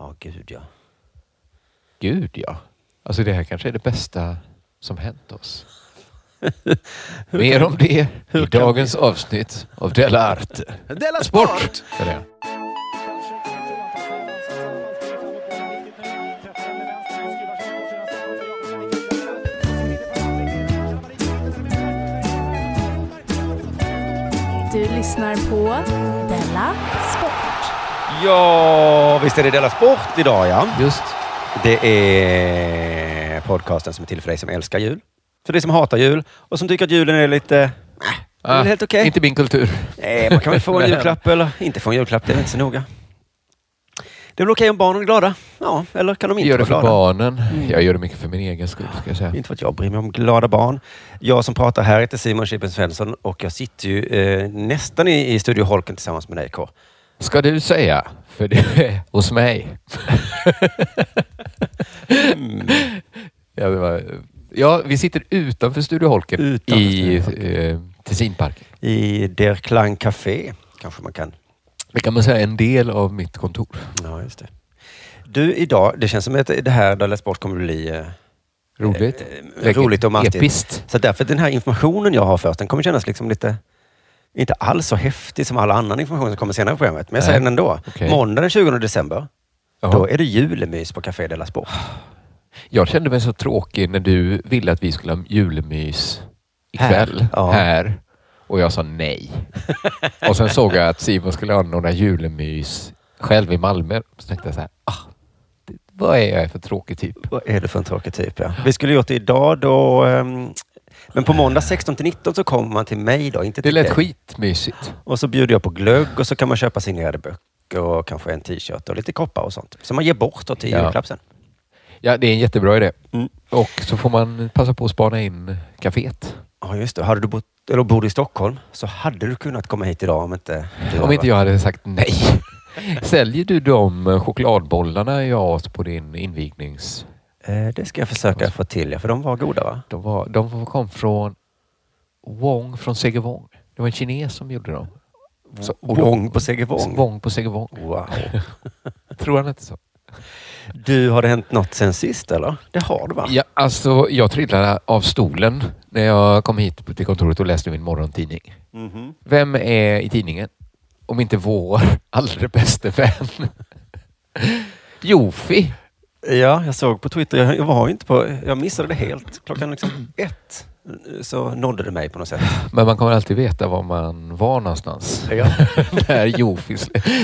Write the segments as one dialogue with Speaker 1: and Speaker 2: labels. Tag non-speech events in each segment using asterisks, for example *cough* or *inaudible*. Speaker 1: Gud ja.
Speaker 2: Gud ja. Alltså det här kanske är det bästa som
Speaker 1: *laughs*
Speaker 2: hänt oss. Mer om det i dagens avsnitt av Della Arte.
Speaker 1: Della
Speaker 2: Sport! För det.
Speaker 3: Du lyssnar på Della Sport.
Speaker 1: Ja, visst är det Della Sport idag ja.
Speaker 2: Just.
Speaker 1: Det är podcasten som är till för dig som älskar jul. För dig som hatar jul och som tycker att julen är lite... Äh, det är
Speaker 2: Ah,
Speaker 1: väl helt okej.
Speaker 2: Inte min kultur.
Speaker 1: Nej, man kan väl
Speaker 2: *laughs*
Speaker 1: få en julklapp eller inte få en julklapp. Det är väl inte så noga. Det är väl okej om barnen är glada? Ja, eller kan de
Speaker 2: Jag
Speaker 1: inte
Speaker 2: gör det
Speaker 1: vara
Speaker 2: för
Speaker 1: glada?
Speaker 2: barnen. Jag gör det mycket för min egen skull. Ska jag säga.
Speaker 1: Inte för att jag bryr mig om glada barn. Jag som pratar här heter Simon Chippen Svensson och jag sitter ju eh, nästan i, i Studio Holken tillsammans med dig K.
Speaker 2: Ska du säga? För det är hos mig.
Speaker 1: Mm.
Speaker 2: *laughs* ja, det var, ja, vi sitter utanför Studio Holken
Speaker 1: Utanför
Speaker 2: i
Speaker 1: Studio
Speaker 2: eh, Tessinparken.
Speaker 1: I Der Klang Café kanske man kan.
Speaker 2: Det kan man säga är en del av mitt kontor.
Speaker 1: Ja, just det. Du, idag, det känns som att det här Dalla Sport kommer bli eh,
Speaker 2: Roligt.
Speaker 1: eh, roligt och mastigt.
Speaker 2: Episkt.
Speaker 1: Så därför den här informationen jag har först, den kommer kännas liksom lite inte alls så häftig som all annan information som kommer senare i programmet. Men jag säger
Speaker 2: Nej.
Speaker 1: den ändå.
Speaker 2: Okej.
Speaker 1: Måndag den 20 december,
Speaker 2: Ja.
Speaker 1: då är det julemys på Café Della Sport.
Speaker 2: Ah. Jag kände mig så tråkig när du ville att vi skulle ha julmys ikväll
Speaker 1: Här,
Speaker 2: här.
Speaker 1: ja.
Speaker 2: och jag sa nej. och sen såg jag att Simon skulle ha några julmys själv i Malmö. Så tänkte jag så här, ah, det, vad är jag för tråkig typ?
Speaker 1: Vad är det för en tråkig typ? Ja. Vi skulle gjort det idag då. ehm, Men på måndag 16 till 19 så kommer man till mig då, inte
Speaker 2: Det
Speaker 1: till
Speaker 2: lät
Speaker 1: dig.
Speaker 2: skitmysigt.
Speaker 1: Och så bjuder jag på glögg och så kan man köpa signerade böcker och kanske en t-shirt och lite koppar och sånt. Så man ger bort då till
Speaker 2: Ja.
Speaker 1: julklapp sen.
Speaker 2: Ja, det är en jättebra idé.
Speaker 1: Mm.
Speaker 2: Och så får man passa på att spana in kaféet.
Speaker 1: Ja, just det. Hade du bott, eller bor du i Stockholm så hade du kunnat komma hit idag om inte... du
Speaker 2: Om
Speaker 1: var-
Speaker 2: inte jag hade sagt nej. *laughs* Säljer du de chokladbollarna jag åt på din invignings...
Speaker 1: Eh, Det ska jag försöka få till, ja, för de var goda va?
Speaker 2: De, var, de kom från Wong från Segevång. Det var en kines som gjorde dem. Så- och då-
Speaker 1: Wong på Segevång.
Speaker 2: Wong på Segevång.
Speaker 1: Wow.
Speaker 2: Tror han inte så?
Speaker 1: Du, har det hänt något sen sist eller? Det har du va?
Speaker 2: Ja, alltså, jag trillade av stolen när jag kom hit till kontoret och läste min morgontidning.
Speaker 1: Mhm.
Speaker 2: Vem är i tidningen? Om inte vår allra bästa vän. *laughs* Jofi.
Speaker 1: Ja, jag såg på Twitter. Jag, jag var ju inte på... Jag missade det helt. Klockan liksom ett eh, så nådde det mig på något sätt.
Speaker 2: Men man kommer alltid veta var man var någonstans.
Speaker 1: Ja.
Speaker 2: *laughs* när, Jofi,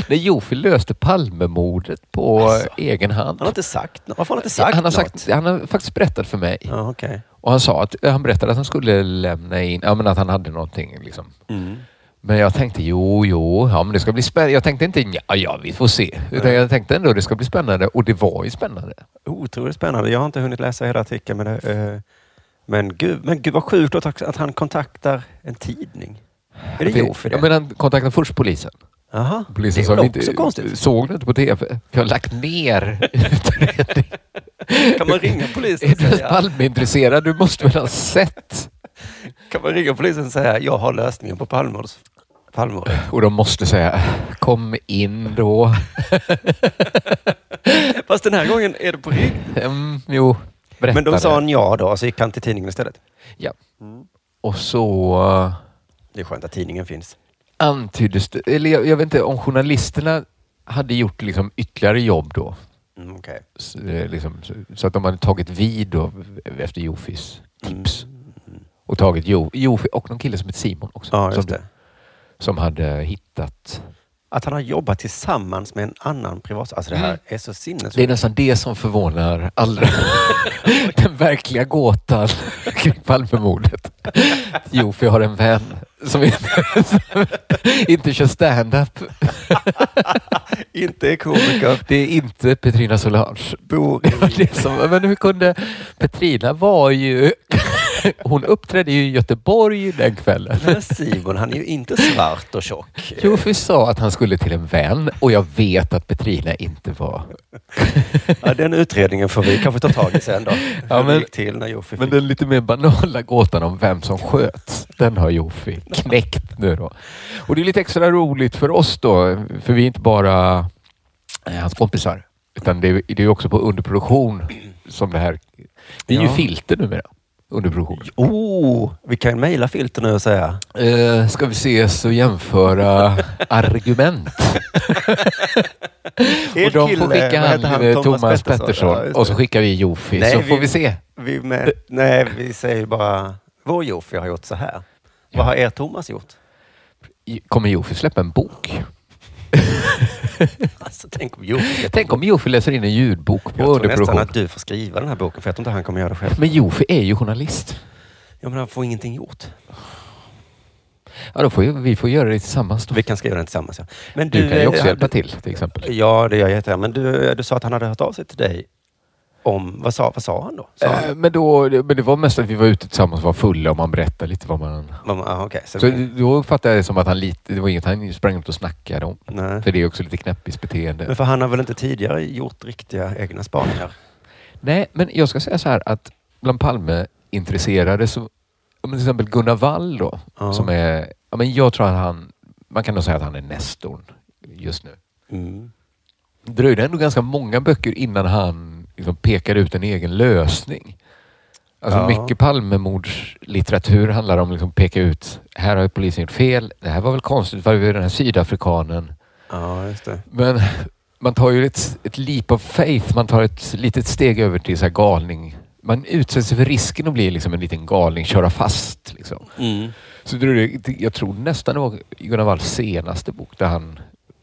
Speaker 2: när Jofi löste Palmemordet på
Speaker 1: Alltså.
Speaker 2: egen hand.
Speaker 1: Han har inte sagt något. Varför har han inte sagt
Speaker 2: han, har
Speaker 1: något?
Speaker 2: sagt, han har faktiskt berättat för mig.
Speaker 1: Ja, okej.
Speaker 2: Och han sa att han berättade att han skulle lämna in, ja men att han hade någonting liksom.
Speaker 1: Mm.
Speaker 2: Men jag tänkte jo, jo, ja men det ska bli spännande. Jag tänkte inte ja, ja vi får se.
Speaker 1: Mm.
Speaker 2: Utan jag tänkte ändå det ska bli spännande och det var ju spännande.
Speaker 1: Otroligt spännande. Jag har inte hunnit läsa hela artikeln. Men, det, eh, men, gud, men gud vad sjukt att, att han kontaktar en tidning. Är det
Speaker 2: Att det-
Speaker 1: jo för det?
Speaker 2: Ja, men han kontaktade först polisen.
Speaker 1: Jaha.
Speaker 2: Polisen
Speaker 1: det
Speaker 2: sa,
Speaker 1: är väl
Speaker 2: "Vi
Speaker 1: också
Speaker 2: inte-
Speaker 1: konstigt.
Speaker 2: Såg du inte på TV? Vi har lagt ner utredningen.
Speaker 1: Kan man
Speaker 2: *laughs*
Speaker 1: ringa polisen
Speaker 2: Är
Speaker 1: och
Speaker 2: du
Speaker 1: säga,
Speaker 2: Palmeintresserad? Du måste väl ha sett?
Speaker 1: kan man ringa polisen och säga jag har lösningen på Palmemordet? Palmemordet.
Speaker 2: Och de måste säga kom in då.
Speaker 1: Fast den här gången är det på riktigt.
Speaker 2: Mm, jo, berätta
Speaker 1: Men då sa
Speaker 2: det.
Speaker 1: han ja då, så gick han till tidningen istället.
Speaker 2: Ja. Och så eh,
Speaker 1: Det är skönt att tidningen finns.
Speaker 2: antyddes det, eller jag, jag vet inte om journalisterna hade gjort liksom ytterligare jobb då.
Speaker 1: Mm, okej.
Speaker 2: Så, eh, liksom, så- så att de hade tagit vid då, efter Jofis tips.
Speaker 1: Mm.
Speaker 2: Och tagit jo, Jofi och någon kille som heter Simon också.
Speaker 1: Ja,
Speaker 2: som,
Speaker 1: just det.
Speaker 2: som hade hittat.
Speaker 1: Att han har jobbat tillsammans med en annan privat... Alltså det
Speaker 2: Mm.
Speaker 1: här är så
Speaker 2: Det är
Speaker 1: sinnessjukt.
Speaker 2: nästan det som förvånar allra. *laughs* Den verkliga gåtan *laughs* kring Palmemordet. Jofi har en vän som inte, som *laughs* inte kör stand-up.
Speaker 1: Inte är komiker.
Speaker 2: Det är inte Petrina Solange.
Speaker 1: Bor
Speaker 2: Det var
Speaker 1: i...
Speaker 2: *laughs* det som, men hur kunde... Petrina var ju... *laughs* Hon uppträdde ju i Göteborg den kvällen.
Speaker 1: Men Simon, han är ju inte svart och tjock.
Speaker 2: Jofi sa att han skulle till en vän och jag vet att Petrina inte var...
Speaker 1: Ja, den utredningen får vi kanske ta tag i sen då.
Speaker 2: Ja,
Speaker 1: Hur det
Speaker 2: men-
Speaker 1: gick till när Jofi
Speaker 2: Men
Speaker 1: fick...
Speaker 2: den lite mer banala gåtan om vem som sköt, den har Jofi knäckt nu då. Och det är lite extra roligt för oss då, för vi är inte bara eh, hans kompisar. Utan det, är- det är ju också på underproduktion som det här... Det är ju
Speaker 1: Ja.
Speaker 2: filter numera. Underproduktion.
Speaker 1: Oh, vi kan mejla filter nu och säga.
Speaker 2: Eh, ska vi ses och jämföra *laughs* argument? och de får skicka
Speaker 1: vad heter
Speaker 2: han, eh, Thomas, Pettersson,
Speaker 1: Ja, just
Speaker 2: och så
Speaker 1: det.
Speaker 2: skickar vi Jofi
Speaker 1: Nej,
Speaker 2: så
Speaker 1: vi-
Speaker 2: får vi se.
Speaker 1: vi med, Nej, vi säger ju bara, vår Jofi har gjort så här.
Speaker 2: Ja.
Speaker 1: Vad har er Thomas gjort?
Speaker 2: Kommer Jofi släppa en bok?
Speaker 1: Alltså, tänk om Jofi...
Speaker 2: Tänk om Jofi läser in en ljudbok på
Speaker 1: Jag tror nästan
Speaker 2: underproduktion.
Speaker 1: att du får skriva den här boken, för jag tror inte han kommer göra det själv.
Speaker 2: Men Jofi är ju journalist.
Speaker 1: Ja, men han får ingenting gjort.
Speaker 2: Ja, då får ju, vi får göra det tillsammans. Då.
Speaker 1: Vi kan skriva den tillsammans. Ja. Men
Speaker 2: Du kan ju också
Speaker 1: eh,
Speaker 2: hjälpa till till exempel.
Speaker 1: Ja, det gör jag jättegärna. Men du, du sa att han hade hört av sig till dig. Om, vad, sa, vad sa han då? Sa han?
Speaker 2: Eh, Men, då, men det var mest att vi var ute tillsammans och var fulla och man berättade lite vad man...
Speaker 1: Man- ah, okej, så,
Speaker 2: Så då uppfattade jag det som att han lite, det var inget han sprang runt och snackade om.
Speaker 1: nej.
Speaker 2: För det är också lite knäppis beteende.
Speaker 1: Men för han har väl inte tidigare gjort riktiga egna spaningar?
Speaker 2: Nej, men jag ska säga så här att bland Palme-intresserade så, om till exempel Gunnar Wall då,
Speaker 1: Ja.
Speaker 2: *laughs* som är, ja, men jag tror att han, man kan nog säga att han är nestorn just nu.
Speaker 1: Mm.
Speaker 2: Det dröjde ändå ganska många böcker innan han liksom pekade ut en egen lösning. Alltså
Speaker 1: Ja.
Speaker 2: mycket Palmemordslitteratur handlar om att liksom peka ut, här har ju polisen gjort fel, det här var väl konstigt, varför är den här sydafrikanen?
Speaker 1: Ja, just det.
Speaker 2: Men man tar ju ett, ett leap of faith. Man tar ett litet steg över till så här galning. Man utsätts för risken att bli liksom en liten galning, köra fast. Liksom. Så det är det- jag tror nästan det var Gunnar Walls senaste bok där han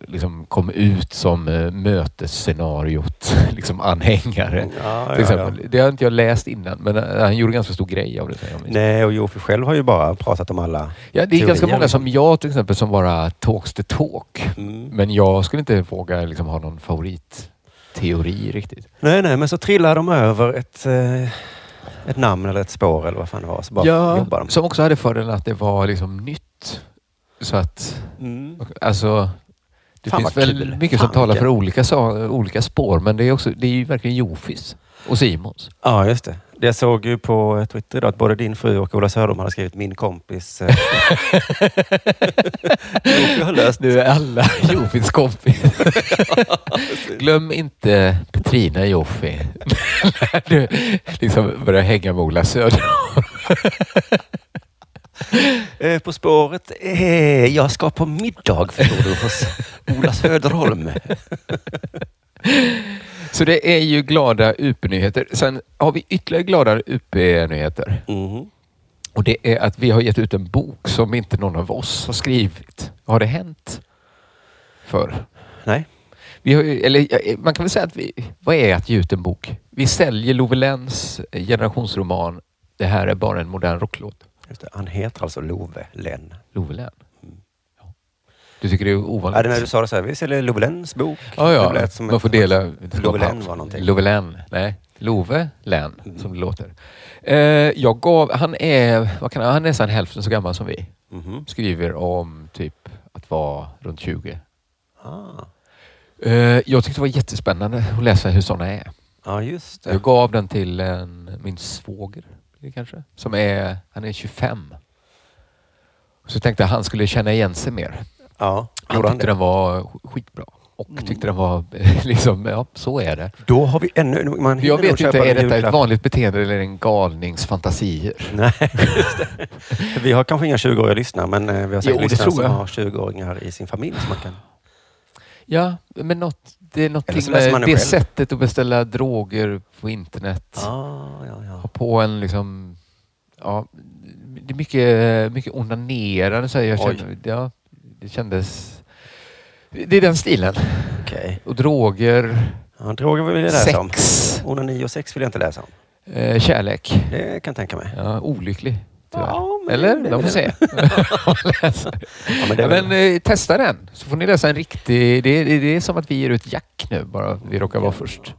Speaker 2: liksom kom ut som eh, mötesscenariot, *laughs* liksom anhängare.
Speaker 1: Ja,
Speaker 2: Till
Speaker 1: ja, ja.
Speaker 2: exempel. Det har inte jag läst innan, men eh, han gjorde ganska stor grej av det. säger jag minns.
Speaker 1: Nej, och Jofi själv har ju bara pratat om alla...
Speaker 2: Ja, det är ganska
Speaker 1: Teorier,
Speaker 2: många som
Speaker 1: liksom.
Speaker 2: jag till exempel som bara talks the talk.
Speaker 1: Mm.
Speaker 2: Men jag skulle inte våga liksom ha någon favoritteori riktigt.
Speaker 1: Nej, nej, men så trillar de över ett, eh, ett namn eller ett spår eller vad fan det var. Så bara jobbar de.
Speaker 2: Som också hade fördelen att det var liksom nytt. Så att,
Speaker 1: Mm.
Speaker 2: alltså, det
Speaker 1: Fan,
Speaker 2: finns
Speaker 1: vad
Speaker 2: väl
Speaker 1: kul.
Speaker 2: mycket som
Speaker 1: Fan,
Speaker 2: talar
Speaker 1: vilken-
Speaker 2: för olika, sa- olika spår, men det är, också, det är ju verkligen Jofis och Simons.
Speaker 1: Ja, just det. Det Jag såg ju på Twitter idag att både din fru och Ola Söderholm hade skrivit min kompis.
Speaker 2: *laughs*
Speaker 1: eh, Jofi har löst
Speaker 2: Nu är alla *laughs*
Speaker 1: *laughs*
Speaker 2: Jofis kompis. Glöm inte Petrina Jofi när *laughs* du liksom börjar hänga med Ola Söder.
Speaker 1: Eh, På spåret. Eh, jag ska på middag förstår du hos Ola Söderholm.
Speaker 2: Så det är ju glada UP-nyheter. Sen har vi ytterligare glada UP-nyheter.
Speaker 1: Mhm.
Speaker 2: Och det är att vi har gett ut en bok som inte någon av oss har skrivit. Har det hänt? För.
Speaker 1: Nej.
Speaker 2: Vi har, ju- eller ja, eh, man kan väl säga att vi, vad är att ge ut en bok? Vi säljer Love Lenns generationsroman Det här är bara en modern rocklåt.
Speaker 1: Just det. Han heter alltså Love Lenn.
Speaker 2: Love Lenn. Ja. Du tycker det är
Speaker 1: Mm. Ja, det är när du
Speaker 2: ovanligt?
Speaker 1: sa det så här, vi säljer Love Lenns bok.
Speaker 2: Ja,
Speaker 1: Det
Speaker 2: ja.
Speaker 1: lät som
Speaker 2: Man
Speaker 1: ett-
Speaker 2: får dela.
Speaker 1: Love Lenn var någonting. Mm.
Speaker 2: Love Lenn. Nej, Love Lenn som det låter. Eh, jag gav, han är, vad kan han, han är nästan hälften så gammal som vi.
Speaker 1: Mhm.
Speaker 2: skriver om typ att vara runt 20.
Speaker 1: Ah.
Speaker 2: Eh, jag tyckte det var jättespännande att läsa hur sådana är.
Speaker 1: Ja, just det.
Speaker 2: Jag gav den till en, min svåger, blir det kanske, som är, han är 25. Så tänkte jag han skulle känna igen sig mer.
Speaker 1: Ja,
Speaker 2: Han
Speaker 1: gjorde han
Speaker 2: tyckte
Speaker 1: det? Mm.
Speaker 2: den var sk- skitbra. Och tyckte den var *laughs* liksom, ja så är det.
Speaker 1: Då har vi ännu... Man hinner
Speaker 2: Jag
Speaker 1: nog
Speaker 2: vet
Speaker 1: köpa
Speaker 2: inte,
Speaker 1: en
Speaker 2: är detta ett
Speaker 1: julklapp.
Speaker 2: vanligt beteende eller en galnings fantasier?
Speaker 1: Nej, just det. Vi har kanske inga 20-åriga lyssnare, men eh, vi har
Speaker 2: Jo,
Speaker 1: säkert
Speaker 2: det
Speaker 1: lyssnare
Speaker 2: tror
Speaker 1: som
Speaker 2: jag.
Speaker 1: har 20-åringar i sin familj. Som man kan...
Speaker 2: Ja, men något, det är
Speaker 1: Eller så
Speaker 2: någonting
Speaker 1: läser
Speaker 2: med
Speaker 1: man
Speaker 2: det
Speaker 1: den själv.
Speaker 2: sättet att beställa droger på internet.
Speaker 1: Ah, ja, ja.
Speaker 2: ha på en liksom... Ja, det är mycket, mycket onanerande så här. jag
Speaker 1: Oj.
Speaker 2: kände, ja, Det kändes... Det är den stilen.
Speaker 1: Okej.
Speaker 2: Och droger,
Speaker 1: Ja, droger vill jag läsa om.
Speaker 2: sex,
Speaker 1: Onani och sex vill jag inte läsa om.
Speaker 2: eh, kärlek.
Speaker 1: Det kan jag tänka mig.
Speaker 2: Ja, olycklig. tyvärr.
Speaker 1: Ja, men-
Speaker 2: Eller? De
Speaker 1: *laughs*
Speaker 2: får se. Läsa.
Speaker 1: Ja, men det
Speaker 2: Ja,
Speaker 1: är
Speaker 2: men
Speaker 1: väl...
Speaker 2: eh, testa den så får ni läsa en riktig... Det, det, det är som att vi ger ut Jack nu bara. Vi råkar vara först.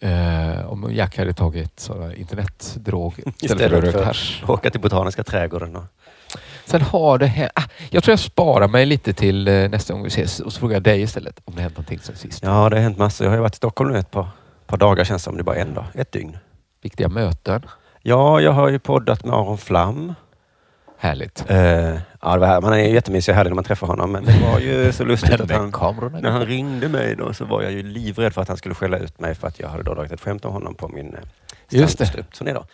Speaker 2: Eh, om Jack hade tagit
Speaker 1: *laughs*
Speaker 2: sådana internetdroger istället för
Speaker 1: Istället
Speaker 2: rökt
Speaker 1: för-
Speaker 2: hasch.
Speaker 1: Åka till Botaniska trädgården och...
Speaker 2: Sen har det hänt... Ah, jag tror jag sparar mig lite till eh, nästa gång vi ses och så frågar jag dig istället om det hänt någonting sen sist.
Speaker 1: Ja, det har hänt massor. Jag har ju varit i Stockholm nu ett par, par dagar känns det som. Det är bara en dag. Ett dygn.
Speaker 2: Viktiga möten.
Speaker 1: Ja, jag har ju poddat med Aron Flam.
Speaker 2: Härligt.
Speaker 1: Eh, Ja, det var här. Man är ju jättemysig och härlig när man träffar honom, men det var ju så lustigt
Speaker 2: Men
Speaker 1: att
Speaker 2: den
Speaker 1: han...
Speaker 2: kamerorna...
Speaker 1: När han ringde mig då så var jag ju livrädd för att han skulle skälla ut mig för att jag hade då dragit ett skämt om honom på min eh,
Speaker 2: Just det.
Speaker 1: standup-turné. då.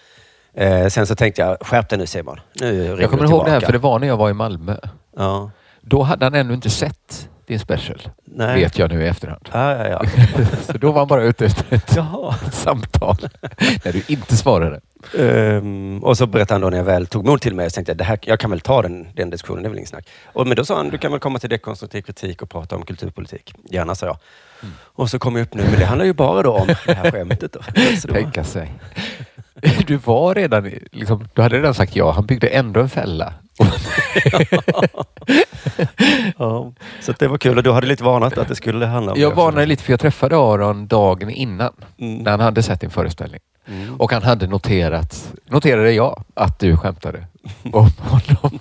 Speaker 1: Eh, sen så tänkte jag, skärp dig nu Simon. Nu ringer
Speaker 2: Jag kommer
Speaker 1: du
Speaker 2: ihåg det här,
Speaker 1: tillbaka."
Speaker 2: för det var när jag var i Malmö.
Speaker 1: Ja.
Speaker 2: Då hade han ännu inte sett din special,
Speaker 1: Nej.
Speaker 2: vet jag nu i efterhand.
Speaker 1: Ja, ja, ja.
Speaker 2: *laughs* Så då var han bara ute efter ett
Speaker 1: Jaha.
Speaker 2: *laughs* samtal när du inte svarade.
Speaker 1: Ehm, och så berättade han då när jag väl tog mod till mig, så tänkte jag, det här, jag kan väl ta den, den diskussionen, det är väl inget snack. Och, men då sa han, du kan väl komma till dekonstruktiv kritik och prata om kulturpolitik. Gärna, sa jag.
Speaker 2: Mm.
Speaker 1: Och så kom jag upp nu, men det handlar ju bara då om det här skämtet.
Speaker 2: *laughs*
Speaker 1: Då. Så det var,
Speaker 2: Tänka sig. *laughs* Du var redan, i- liksom, du hade redan sagt ja. Han byggde ändå en fälla.
Speaker 1: ja. Så att det var kul och du hade lite varnat att det skulle handla om
Speaker 2: Jag
Speaker 1: det.
Speaker 2: varnade lite för jag träffade Aron dagen innan
Speaker 1: Mm.
Speaker 2: när han hade sett din föreställning.
Speaker 1: Mm.
Speaker 2: Och han hade noterat, noterade jag, att du skämtade om *laughs* honom.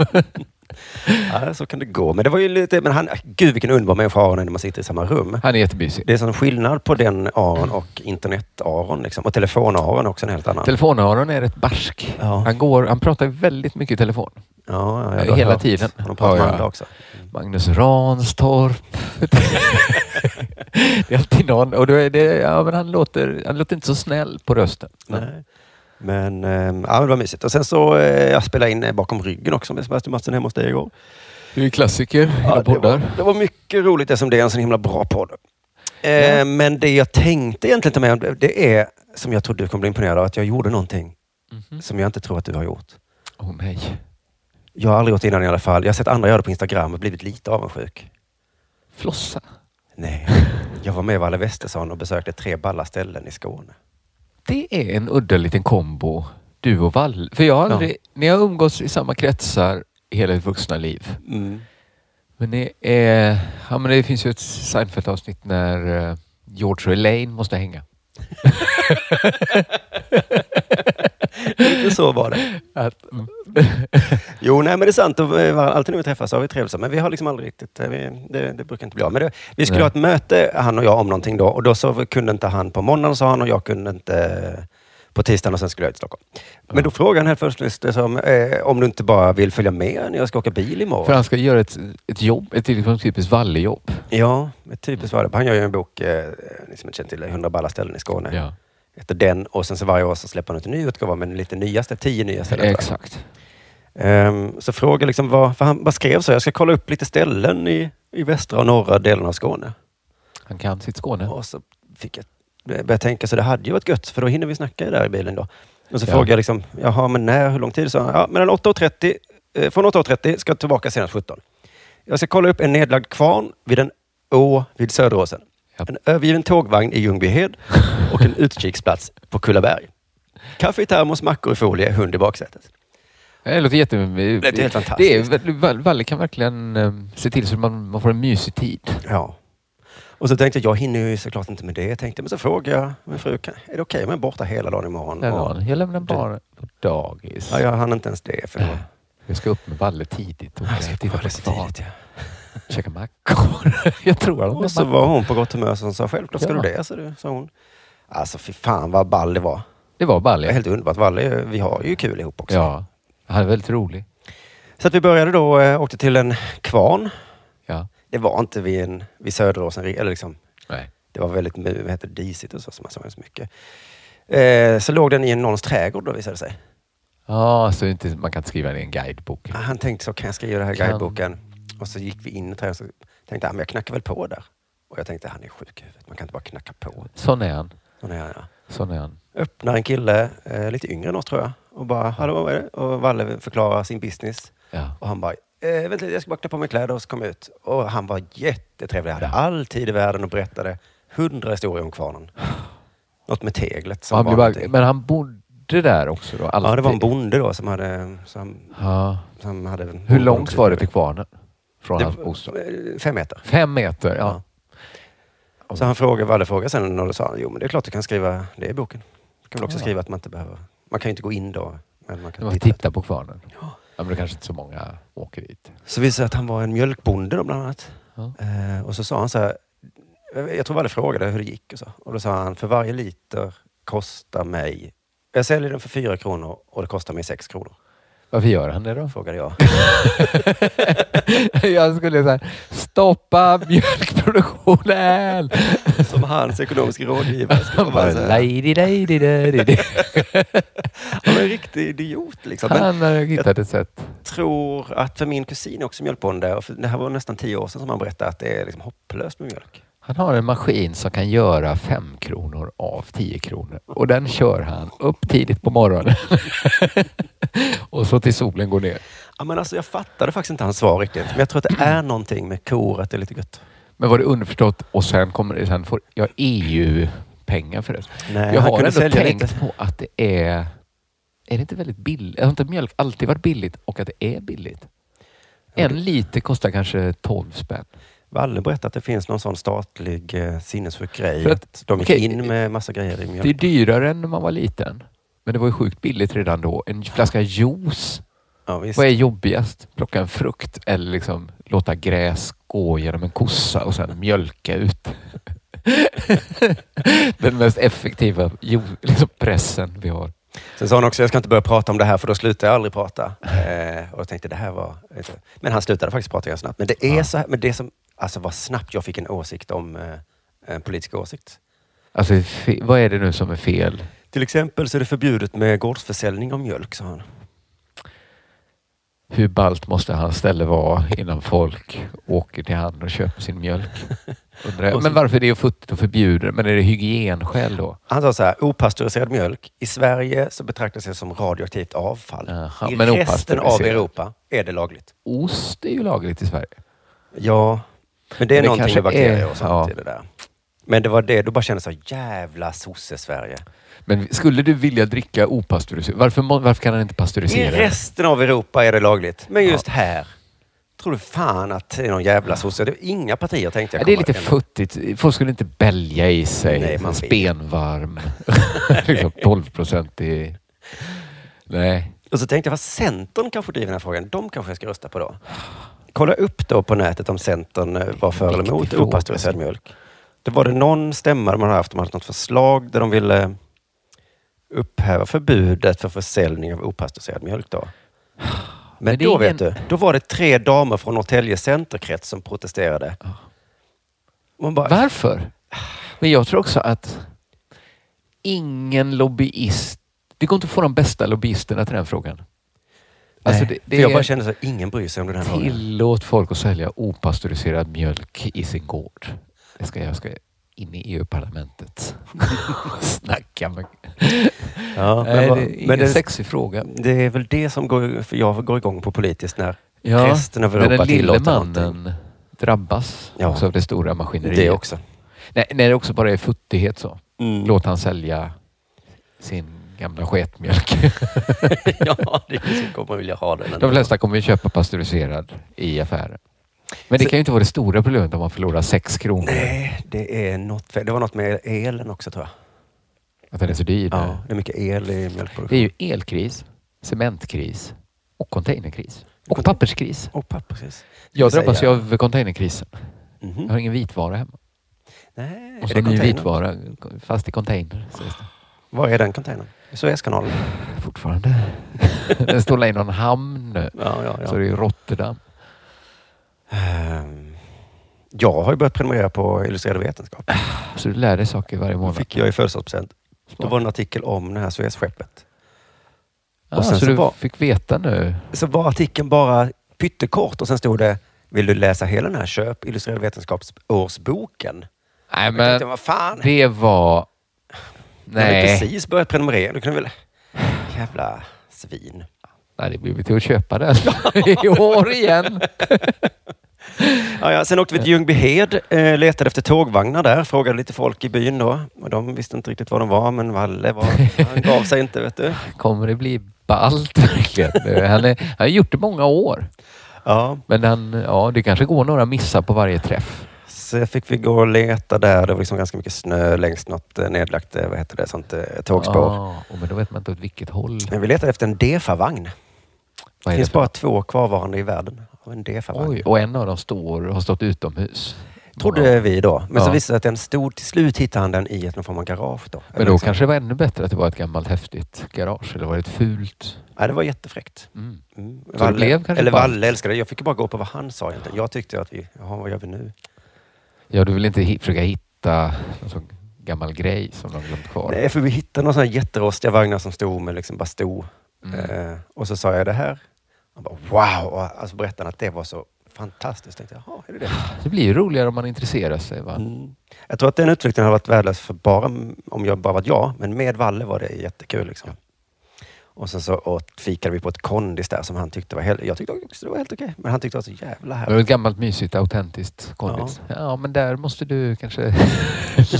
Speaker 1: Ja, så kan det gå. Men det var ju lite, men han, gud vilken underbar människa Aron är när man sitter i samma rum.
Speaker 2: Han är jättemysig.
Speaker 1: Det är sån skillnad på den Aron och internet-Aron liksom. och telefon-Aron är också en helt annan.
Speaker 2: Telefon-Aron är rätt barsk.
Speaker 1: Ja.
Speaker 2: Han, går, han pratar väldigt mycket i telefon.
Speaker 1: ja, ja, jag har
Speaker 2: Hela
Speaker 1: hört.
Speaker 2: tiden.
Speaker 1: Han har pratat
Speaker 2: Ja,
Speaker 1: med
Speaker 2: ja.
Speaker 1: andra också.
Speaker 2: Magnus Ranstorp. *laughs* det är alltid någon. Och då är det, ja, men han, låter, han låter inte så snäll på rösten.
Speaker 1: Nej. Men, ehm, ja, men det var mysigt. Och sen så eh, jag spelade in eh, Bakom ryggen också med Sebastian Mattsson hemma hos dig igår.
Speaker 2: Du är klassiker ja,
Speaker 1: det, var,
Speaker 2: poddar.
Speaker 1: det var mycket roligt eftersom det är en sån himla bra podd. Eh,
Speaker 2: Ja.
Speaker 1: Men det jag tänkte egentligen ta med om det- det är, som jag trodde du kommer bli imponerad av, att jag gjorde någonting
Speaker 2: Mhm.
Speaker 1: som jag inte tror att du har gjort.
Speaker 2: Åh nej.
Speaker 1: Jag har aldrig gjort det innan i alla fall. Jag har sett andra göra det på Instagram och blivit lite avundsjuk.
Speaker 2: Flossa.
Speaker 1: Nej. Jag var med Valle Westesson och besökte tre balla ställen i Skåne.
Speaker 2: Det är en udda liten kombo, du och Valle. För jag har
Speaker 1: Ja.
Speaker 2: aldrig, ni har umgåtts i samma kretsar hela ert vuxna liv. Men det, är, ja, men det finns ju ett Seinfeld-avsnitt när eh, George och Elaine måste hänga.
Speaker 1: Lite så var det.
Speaker 2: Att,
Speaker 1: Jo, nej men det är sant. Och, eh, Alltid när vi träffas så har vi trevligt. så. Men vi har liksom aldrig riktigt... eh, Vi, det, det brukar inte bli av. Men det, vi skulle
Speaker 2: Nej.
Speaker 1: ha ett möte, han och jag, om någonting då. Och då så kunde inte han på måndagen, sa han, och jag kunde inte eh, på tisdagen och sen skulle jag till Stockholm. Men då frågade han helt först liksom, eh, om du inte bara vill följa med när jag ska åka bil imorgon.
Speaker 2: för han ska göra ett, ett jobb, ett liksom typiskt Valle-jobb.
Speaker 1: Ja, ett typiskt var det. Han gör ju en bok, eh, ni som inte känner till det, 100 balla ställen i Skåne.
Speaker 2: Ja,
Speaker 1: Heter den och sen så varje år så släpper han ut en ny utgåva med lite nyaste, tio nya ställen. tror jag.
Speaker 2: exakt.
Speaker 1: Ehm, så fråga liksom vad, för han bara skrev så, jag ska kolla upp lite ställen i, i västra och norra delen av Skåne.
Speaker 2: Han kan sitt Skåne.
Speaker 1: Och så fick jag börja tänka, så det hade ju varit gött, för då hinner vi snacka där i bilen då. Och så
Speaker 2: Ja.
Speaker 1: frågade jag liksom, jaha, men när, hur lång tid? Så han, ja, mellan 8.30, eh, från 8.30 ska jag tillbaka senast 17. Jag ska kolla upp en nedlagd kvarn vid en å vid Söderåsen.
Speaker 2: Japp.
Speaker 1: En övergiven tågvagn i Ljungbyhed och en utkiksplats på Kullaberg. Kaffe i termos, mackor i folie, hund i baksätet.
Speaker 2: Det låter jätte...
Speaker 1: Det är helt
Speaker 2: Det är,
Speaker 1: fantastiskt.
Speaker 2: Val- Valle kan verkligen eh, se till så att man, man får en mysig tid.
Speaker 1: Ja. Och så tänkte jag, jag hinner ju såklart inte med det. Jag tänkte, men så frågade jag min fru, kan- är det okej om jag är borta hela dagen imorgon?
Speaker 2: Den
Speaker 1: Och-
Speaker 2: dagen. Jag lämnar barnen på dagis.
Speaker 1: Ja, jag hann inte ens det. För det var... Alltså,
Speaker 2: Jag ska upp med Valle tidigt och ska titta på stan.
Speaker 1: tidigt, ja.
Speaker 2: Käka mackor. *laughs* Jag tror att
Speaker 1: Och så var hon på gott humör så hon sa, självklart ska
Speaker 2: Ja.
Speaker 1: du det, sa, du, sa hon. Alltså fy fan vad ball det var.
Speaker 2: Det var
Speaker 1: Det är
Speaker 2: Valle.
Speaker 1: helt underbart. Valle, är ju- vi har ju kul ihop också.
Speaker 2: Ja. Han är väldigt rolig.
Speaker 1: Så att vi började då, eh, åkte till en kvarn.
Speaker 2: Ja.
Speaker 1: Det var inte vid, en, vid Söderåsen, eller liksom,
Speaker 2: Nej.
Speaker 1: det var väldigt mu- vad heter det, disigt och så, som man såg så mycket. Eh, så låg den i en någons trädgård då visade det sig.
Speaker 2: Ja, så inte, man kan inte skriva det i en guidebok.
Speaker 1: Ah, Han tänkte så, kan jag skriva det här i
Speaker 2: Kan.
Speaker 1: guideboken? Och så gick vi in i trädgården och så tänkte jag, men jag knackar väl på där. Och jag tänkte, han är sjuk i huvudet. Man kan inte bara knacka på.
Speaker 2: Sån är han.
Speaker 1: Och när jag,
Speaker 2: Sån är han.
Speaker 1: öppnar en kille, eh, lite yngre än oss tror jag, och bara ”Hallå, vad är det?” och Valle förklarar sin business.
Speaker 2: Ja.
Speaker 1: Och han bara eh, ”Vänta lite, jag ska bara klä på mig kläder” och så kom jag ut. Och han var jättetrevlig. Han hade all tid i världen och berättade hundra historier om kvarnen. Något med teglet som
Speaker 2: Och han
Speaker 1: var
Speaker 2: blir bara,
Speaker 1: någonting.
Speaker 2: men han bodde där också då? Alltid.
Speaker 1: Ja, det var en bonde då som hade... Som,
Speaker 2: Ja.
Speaker 1: som hade
Speaker 2: Hur långt var det till kvarnen? Från hans bostad?
Speaker 1: Eh, Fem meter.
Speaker 2: Fem meter? Ja.
Speaker 1: Så han frågade, Valle frågade sen och då sa han, jo men det är klart du kan skriva det i boken. Du kan väl också
Speaker 2: Ja.
Speaker 1: skriva att man inte behöver... Man kan ju inte gå in då. Men man
Speaker 2: ja.
Speaker 1: kan
Speaker 2: Man
Speaker 1: titta.
Speaker 2: tittar på kvarnen.
Speaker 1: Ja.
Speaker 2: Ja, men det kanske inte så många åker dit.
Speaker 1: Så visade det sig att han var en mjölkbonde då bland annat.
Speaker 2: Ja.
Speaker 1: Eh, och så sa han så här, jag tror Valle frågade hur det gick och så. Och då sa han, för varje liter kostar mig, jag säljer den för fyra kronor och det kostar mig sex kronor.
Speaker 2: Varför gör han
Speaker 1: *laughs*
Speaker 2: det då?
Speaker 1: Frågade
Speaker 2: *laughs*
Speaker 1: jag.
Speaker 2: Jag skulle säga stoppa mjölkproduktionen.
Speaker 1: Som hans ekonomiska rådgivare. skulle
Speaker 2: *laughs*
Speaker 1: *laughs*
Speaker 2: Han
Speaker 1: jag bara
Speaker 2: bara,
Speaker 1: säga.
Speaker 2: lady, lady,
Speaker 1: *laughs*
Speaker 2: lady, lady.
Speaker 1: Han var en riktig idiot. Liksom. Men
Speaker 2: Han har hittat ett sätt.
Speaker 1: tror att för min kusin är också mjölkbonde. Och för det här var nästan tio år sedan som han berättade att det är liksom hopplöst med mjölk.
Speaker 2: Han har en maskin som kan göra fem kronor av tio kronor och den kör han upp tidigt på morgonen *laughs* och så till solen går ner.
Speaker 1: Ja, men alltså, jag fattade faktiskt inte hans svar riktigt. Men jag tror att det är någonting med kor, att det är lite gött.
Speaker 2: Men var det underförstått och sen kommer det, sen får jag EU-pengar för det.
Speaker 1: Nej,
Speaker 2: jag
Speaker 1: han
Speaker 2: har
Speaker 1: kunde
Speaker 2: ändå
Speaker 1: sälja
Speaker 2: tänkt
Speaker 1: lite.
Speaker 2: på att det är, är det inte väldigt billigt? Har inte mjölk alltid varit billigt och att det är billigt?
Speaker 1: Ja, det-
Speaker 2: En liter kostar kanske 12 spänn.
Speaker 1: Valle berättade att det finns någon sån statlig eh, sinnessjuk grej.
Speaker 2: För
Speaker 1: Att,
Speaker 2: att-
Speaker 1: de gick
Speaker 2: okej.
Speaker 1: in med massa grejer i
Speaker 2: Det är
Speaker 1: mjölk.
Speaker 2: dyrare än när man var liten. Men det var ju sjukt billigt redan då. En flaska juice
Speaker 1: Ja, visst.
Speaker 2: Vad är jobbigast? Plocka en frukt eller liksom låta gräs gå genom en kossa och sedan mjölka ut? *laughs* Den mest effektiva jo, liksom pressen vi har.
Speaker 1: Sen sa han också, jag ska inte börja prata om det här för då slutar jag aldrig prata. Eh, och jag tänkte, det här var... Men han slutade faktiskt prata ganska snabbt. Men det är
Speaker 2: Ja.
Speaker 1: så här, men det som... Alltså vad snabbt jag fick en åsikt om eh, en politisk åsikt.
Speaker 2: Alltså, fe- vad är det nu som är fel?
Speaker 1: Till exempel så är det förbjudet med gårdsförsäljning av mjölk, sa han.
Speaker 2: Hur ballt måste hans ställe vara innan folk åker till han och köper sin mjölk? Undrar jag. Men varför är det futtigt att förbjuda? Men är det hygienskäl då?
Speaker 1: Han sa så här, opastöriserad mjölk. I Sverige så betraktas det som radioaktivt avfall.
Speaker 2: Jaha,
Speaker 1: I
Speaker 2: men
Speaker 1: resten av
Speaker 2: opastöriserad.
Speaker 1: Europa är det lagligt.
Speaker 2: Ost är ju lagligt i Sverige.
Speaker 1: Ja, men det är
Speaker 2: Men det
Speaker 1: någonting
Speaker 2: kanske
Speaker 1: med bakterier
Speaker 2: är-
Speaker 1: och sånt
Speaker 2: ja.
Speaker 1: i det där. Men det var det, då bara kände jag så här, jävla sosse-Sverige.
Speaker 2: Men skulle du vilja dricka opastöriserat? Varför, må- varför kan han inte
Speaker 1: I
Speaker 2: pastörisera? det?
Speaker 1: resten av Europa är det lagligt, men just här tror du fan att det är någon jävla sosse. Det är inga partier tänkte
Speaker 2: Ja,
Speaker 1: jag.
Speaker 2: det är
Speaker 1: komma
Speaker 2: lite
Speaker 1: ändå.
Speaker 2: futtigt. Folk skulle inte bälja i sig
Speaker 1: Nej, man vet. *laughs*
Speaker 2: spenvarm. liksom 12 procent i... Nej.
Speaker 1: Och så tänkte jag, vad Centern kanske driver den här frågan. De kanske jag ska rösta på då. Kolla upp då på nätet om Centern eh, var för eller
Speaker 2: Viktig
Speaker 1: emot
Speaker 2: fråga.
Speaker 1: opastöriserad mjölk. Det var det någon stämma de hade haft, de hade haft något förslag där de ville upphäva förbudet för försäljning av opastöriserad mjölk då. Men,
Speaker 2: Men det är
Speaker 1: då
Speaker 2: ingen-
Speaker 1: vet du, då var det tre damer från Norrtälje centerkrets som protesterade. Man bara,
Speaker 2: Varför? Men jag tror också att ingen lobbyist... Det går inte att få de bästa lobbyisterna till den frågan. Alltså
Speaker 1: Nej,
Speaker 2: det,
Speaker 1: för
Speaker 2: det
Speaker 1: jag bara
Speaker 2: är
Speaker 1: kände så att ingen bryr sig om den här frågan.
Speaker 2: tillåt folk att sälja opastöriserad mjölk i sin gård. Det ska jag ska in i
Speaker 1: *laughs*
Speaker 2: EU-parlamentet och snacka med...
Speaker 1: Ja, men,
Speaker 2: Nej,
Speaker 1: vad-
Speaker 2: det är ingen
Speaker 1: men det,
Speaker 2: sexig fråga.
Speaker 1: det är väl det som går, för jag går igång på politiskt när
Speaker 2: Ja,
Speaker 1: resten av
Speaker 2: men
Speaker 1: Europa
Speaker 2: den lille
Speaker 1: tillåter
Speaker 2: mannen
Speaker 1: någonting.
Speaker 2: drabbas
Speaker 1: Ja.
Speaker 2: också av det stora maskineriet.
Speaker 1: Det också.
Speaker 2: Nej, nej, det också bara är futtighet så.
Speaker 1: Mm.
Speaker 2: Låt han sälja sin
Speaker 1: *laughs*
Speaker 2: gamla sketmjölk.
Speaker 1: *laughs* ja, det är ingen som kommer vilja ha den.
Speaker 2: De
Speaker 1: ändå.
Speaker 2: flesta kommer ju köpa pasteuriserad i affären. Men det
Speaker 1: Så-
Speaker 2: kan ju inte vara det stora problemet om man förlorar sex kronor.
Speaker 1: Nej, det är något fel. Det var något med elen också tror jag.
Speaker 2: Att den är så dyr.
Speaker 1: Ja, det är mycket el i
Speaker 2: Det
Speaker 1: mjölkproduktion.
Speaker 2: är ju elkris, cementkris och containerkris.
Speaker 1: Contain-
Speaker 2: Och papperskris.
Speaker 1: Och papper, precis.
Speaker 2: Jag
Speaker 1: Ska vi
Speaker 2: drabbas ju
Speaker 1: säga-
Speaker 2: av containerkrisen.
Speaker 1: Mhm.
Speaker 2: Jag har ingen vitvara hemma.
Speaker 1: Nej,
Speaker 2: Och
Speaker 1: är
Speaker 2: så
Speaker 1: det
Speaker 2: en ny
Speaker 1: containern?
Speaker 2: vitvara fast i container. sägs det.
Speaker 1: Var är den containern? Suezkanalen?
Speaker 2: Fortfarande. *laughs* Den står i någon hamn nu.
Speaker 1: Ja, ja, ja.
Speaker 2: Så det är ju Rotterdam.
Speaker 1: Ehm, Jag har ju börjat prenumerera på Illustrerad Vetenskap.
Speaker 2: Så du lär dig saker varje
Speaker 1: Då *laughs*
Speaker 2: månad.
Speaker 1: fick jag i födelsedagspresent. Då
Speaker 2: Smart.
Speaker 1: var det en artikel om det här Suezskeppet.
Speaker 2: ah,
Speaker 1: och sen
Speaker 2: så,
Speaker 1: så
Speaker 2: du
Speaker 1: var-
Speaker 2: fick veta nu.
Speaker 1: Så var artikeln bara pyttekort och sen stod det Vill du läsa hela den här Köp Illustrerad Vetenskapsårsboken?
Speaker 2: Nej,
Speaker 1: Jag tänkte,
Speaker 2: men
Speaker 1: vad fan?
Speaker 2: det
Speaker 1: Jag
Speaker 2: var...
Speaker 1: hade
Speaker 2: Äh, Nej.
Speaker 1: precis börjat prenumerera. Du kunde väl... Jävla svin.
Speaker 2: Nej, det blir till att köpa den *laughs* i år igen.
Speaker 1: Ja, ja. Sen åkte vi till Ljungbyhed, eh, letade efter tågvagnar där, frågade lite folk i byn då. Och de visste inte riktigt vad de var, men Valle var, han gav sig inte. vet du.
Speaker 2: Kommer det bli ballt verkligen? Nu? Han, är, han har gjort det många år.
Speaker 1: Ja,
Speaker 2: Men han, ja, det kanske går några missar på varje träff.
Speaker 1: så fick vi gå och leta där. Det var liksom ganska mycket snö längs något eh, nedlagt eh, vad heter det, sånt, eh, tågspår.
Speaker 2: Ah, och men då vet man inte åt vilket håll.
Speaker 1: Men vi letade efter en DEFA-vagn.
Speaker 2: Vad
Speaker 1: Det
Speaker 2: är det
Speaker 1: finns
Speaker 2: för?
Speaker 1: bara två kvarvarande i världen av en DEFA-vagn.
Speaker 2: Oj, och en av dem står, har stått utomhus.
Speaker 1: Trodde vi då. Men så
Speaker 2: Ja.
Speaker 1: visade det sig att den stod, till slut hittade han den i ett någon form av garage. Då.
Speaker 2: Men då kanske det var ännu bättre att det var ett gammalt häftigt garage. Eller var det ett fult?
Speaker 1: Ja, det var jättefräckt.
Speaker 2: Mm.
Speaker 1: Mm.
Speaker 2: det blev kanske
Speaker 1: eller
Speaker 2: bara-
Speaker 1: Valle älskade det. Jag fick ju bara gå på vad han sa egentligen. Jag tyckte att vi, jaha vad gör vi nu?
Speaker 2: Ja, du vill inte hi- försöka hitta någon sån gammal grej som de glömt kvar?
Speaker 1: Nej, för vi hittade några sådana jätterostiga vagnar som stod med liksom bara stod.
Speaker 2: Mm.
Speaker 1: Eh, och så sa jag det här. Han bara wow! Och alltså berättade han att det var så fantastiskt. Jag tänkte, jaha, är det det?
Speaker 2: Det blir ju roligare om man intresserar sig. Va?
Speaker 1: Mm. Jag tror att den utflykten har varit värdelös för bara om jag bara varit jag, men med Valle var det jättekul. Liksom. Och sen så åt, fikade vi på ett kondis där som han tyckte var helt, jag tyckte också det var helt okej, men han tyckte det var så jävla
Speaker 2: Det var
Speaker 1: härligt.
Speaker 2: ett gammalt mysigt autentiskt kondis. Ja. men där måste du kanske *laughs*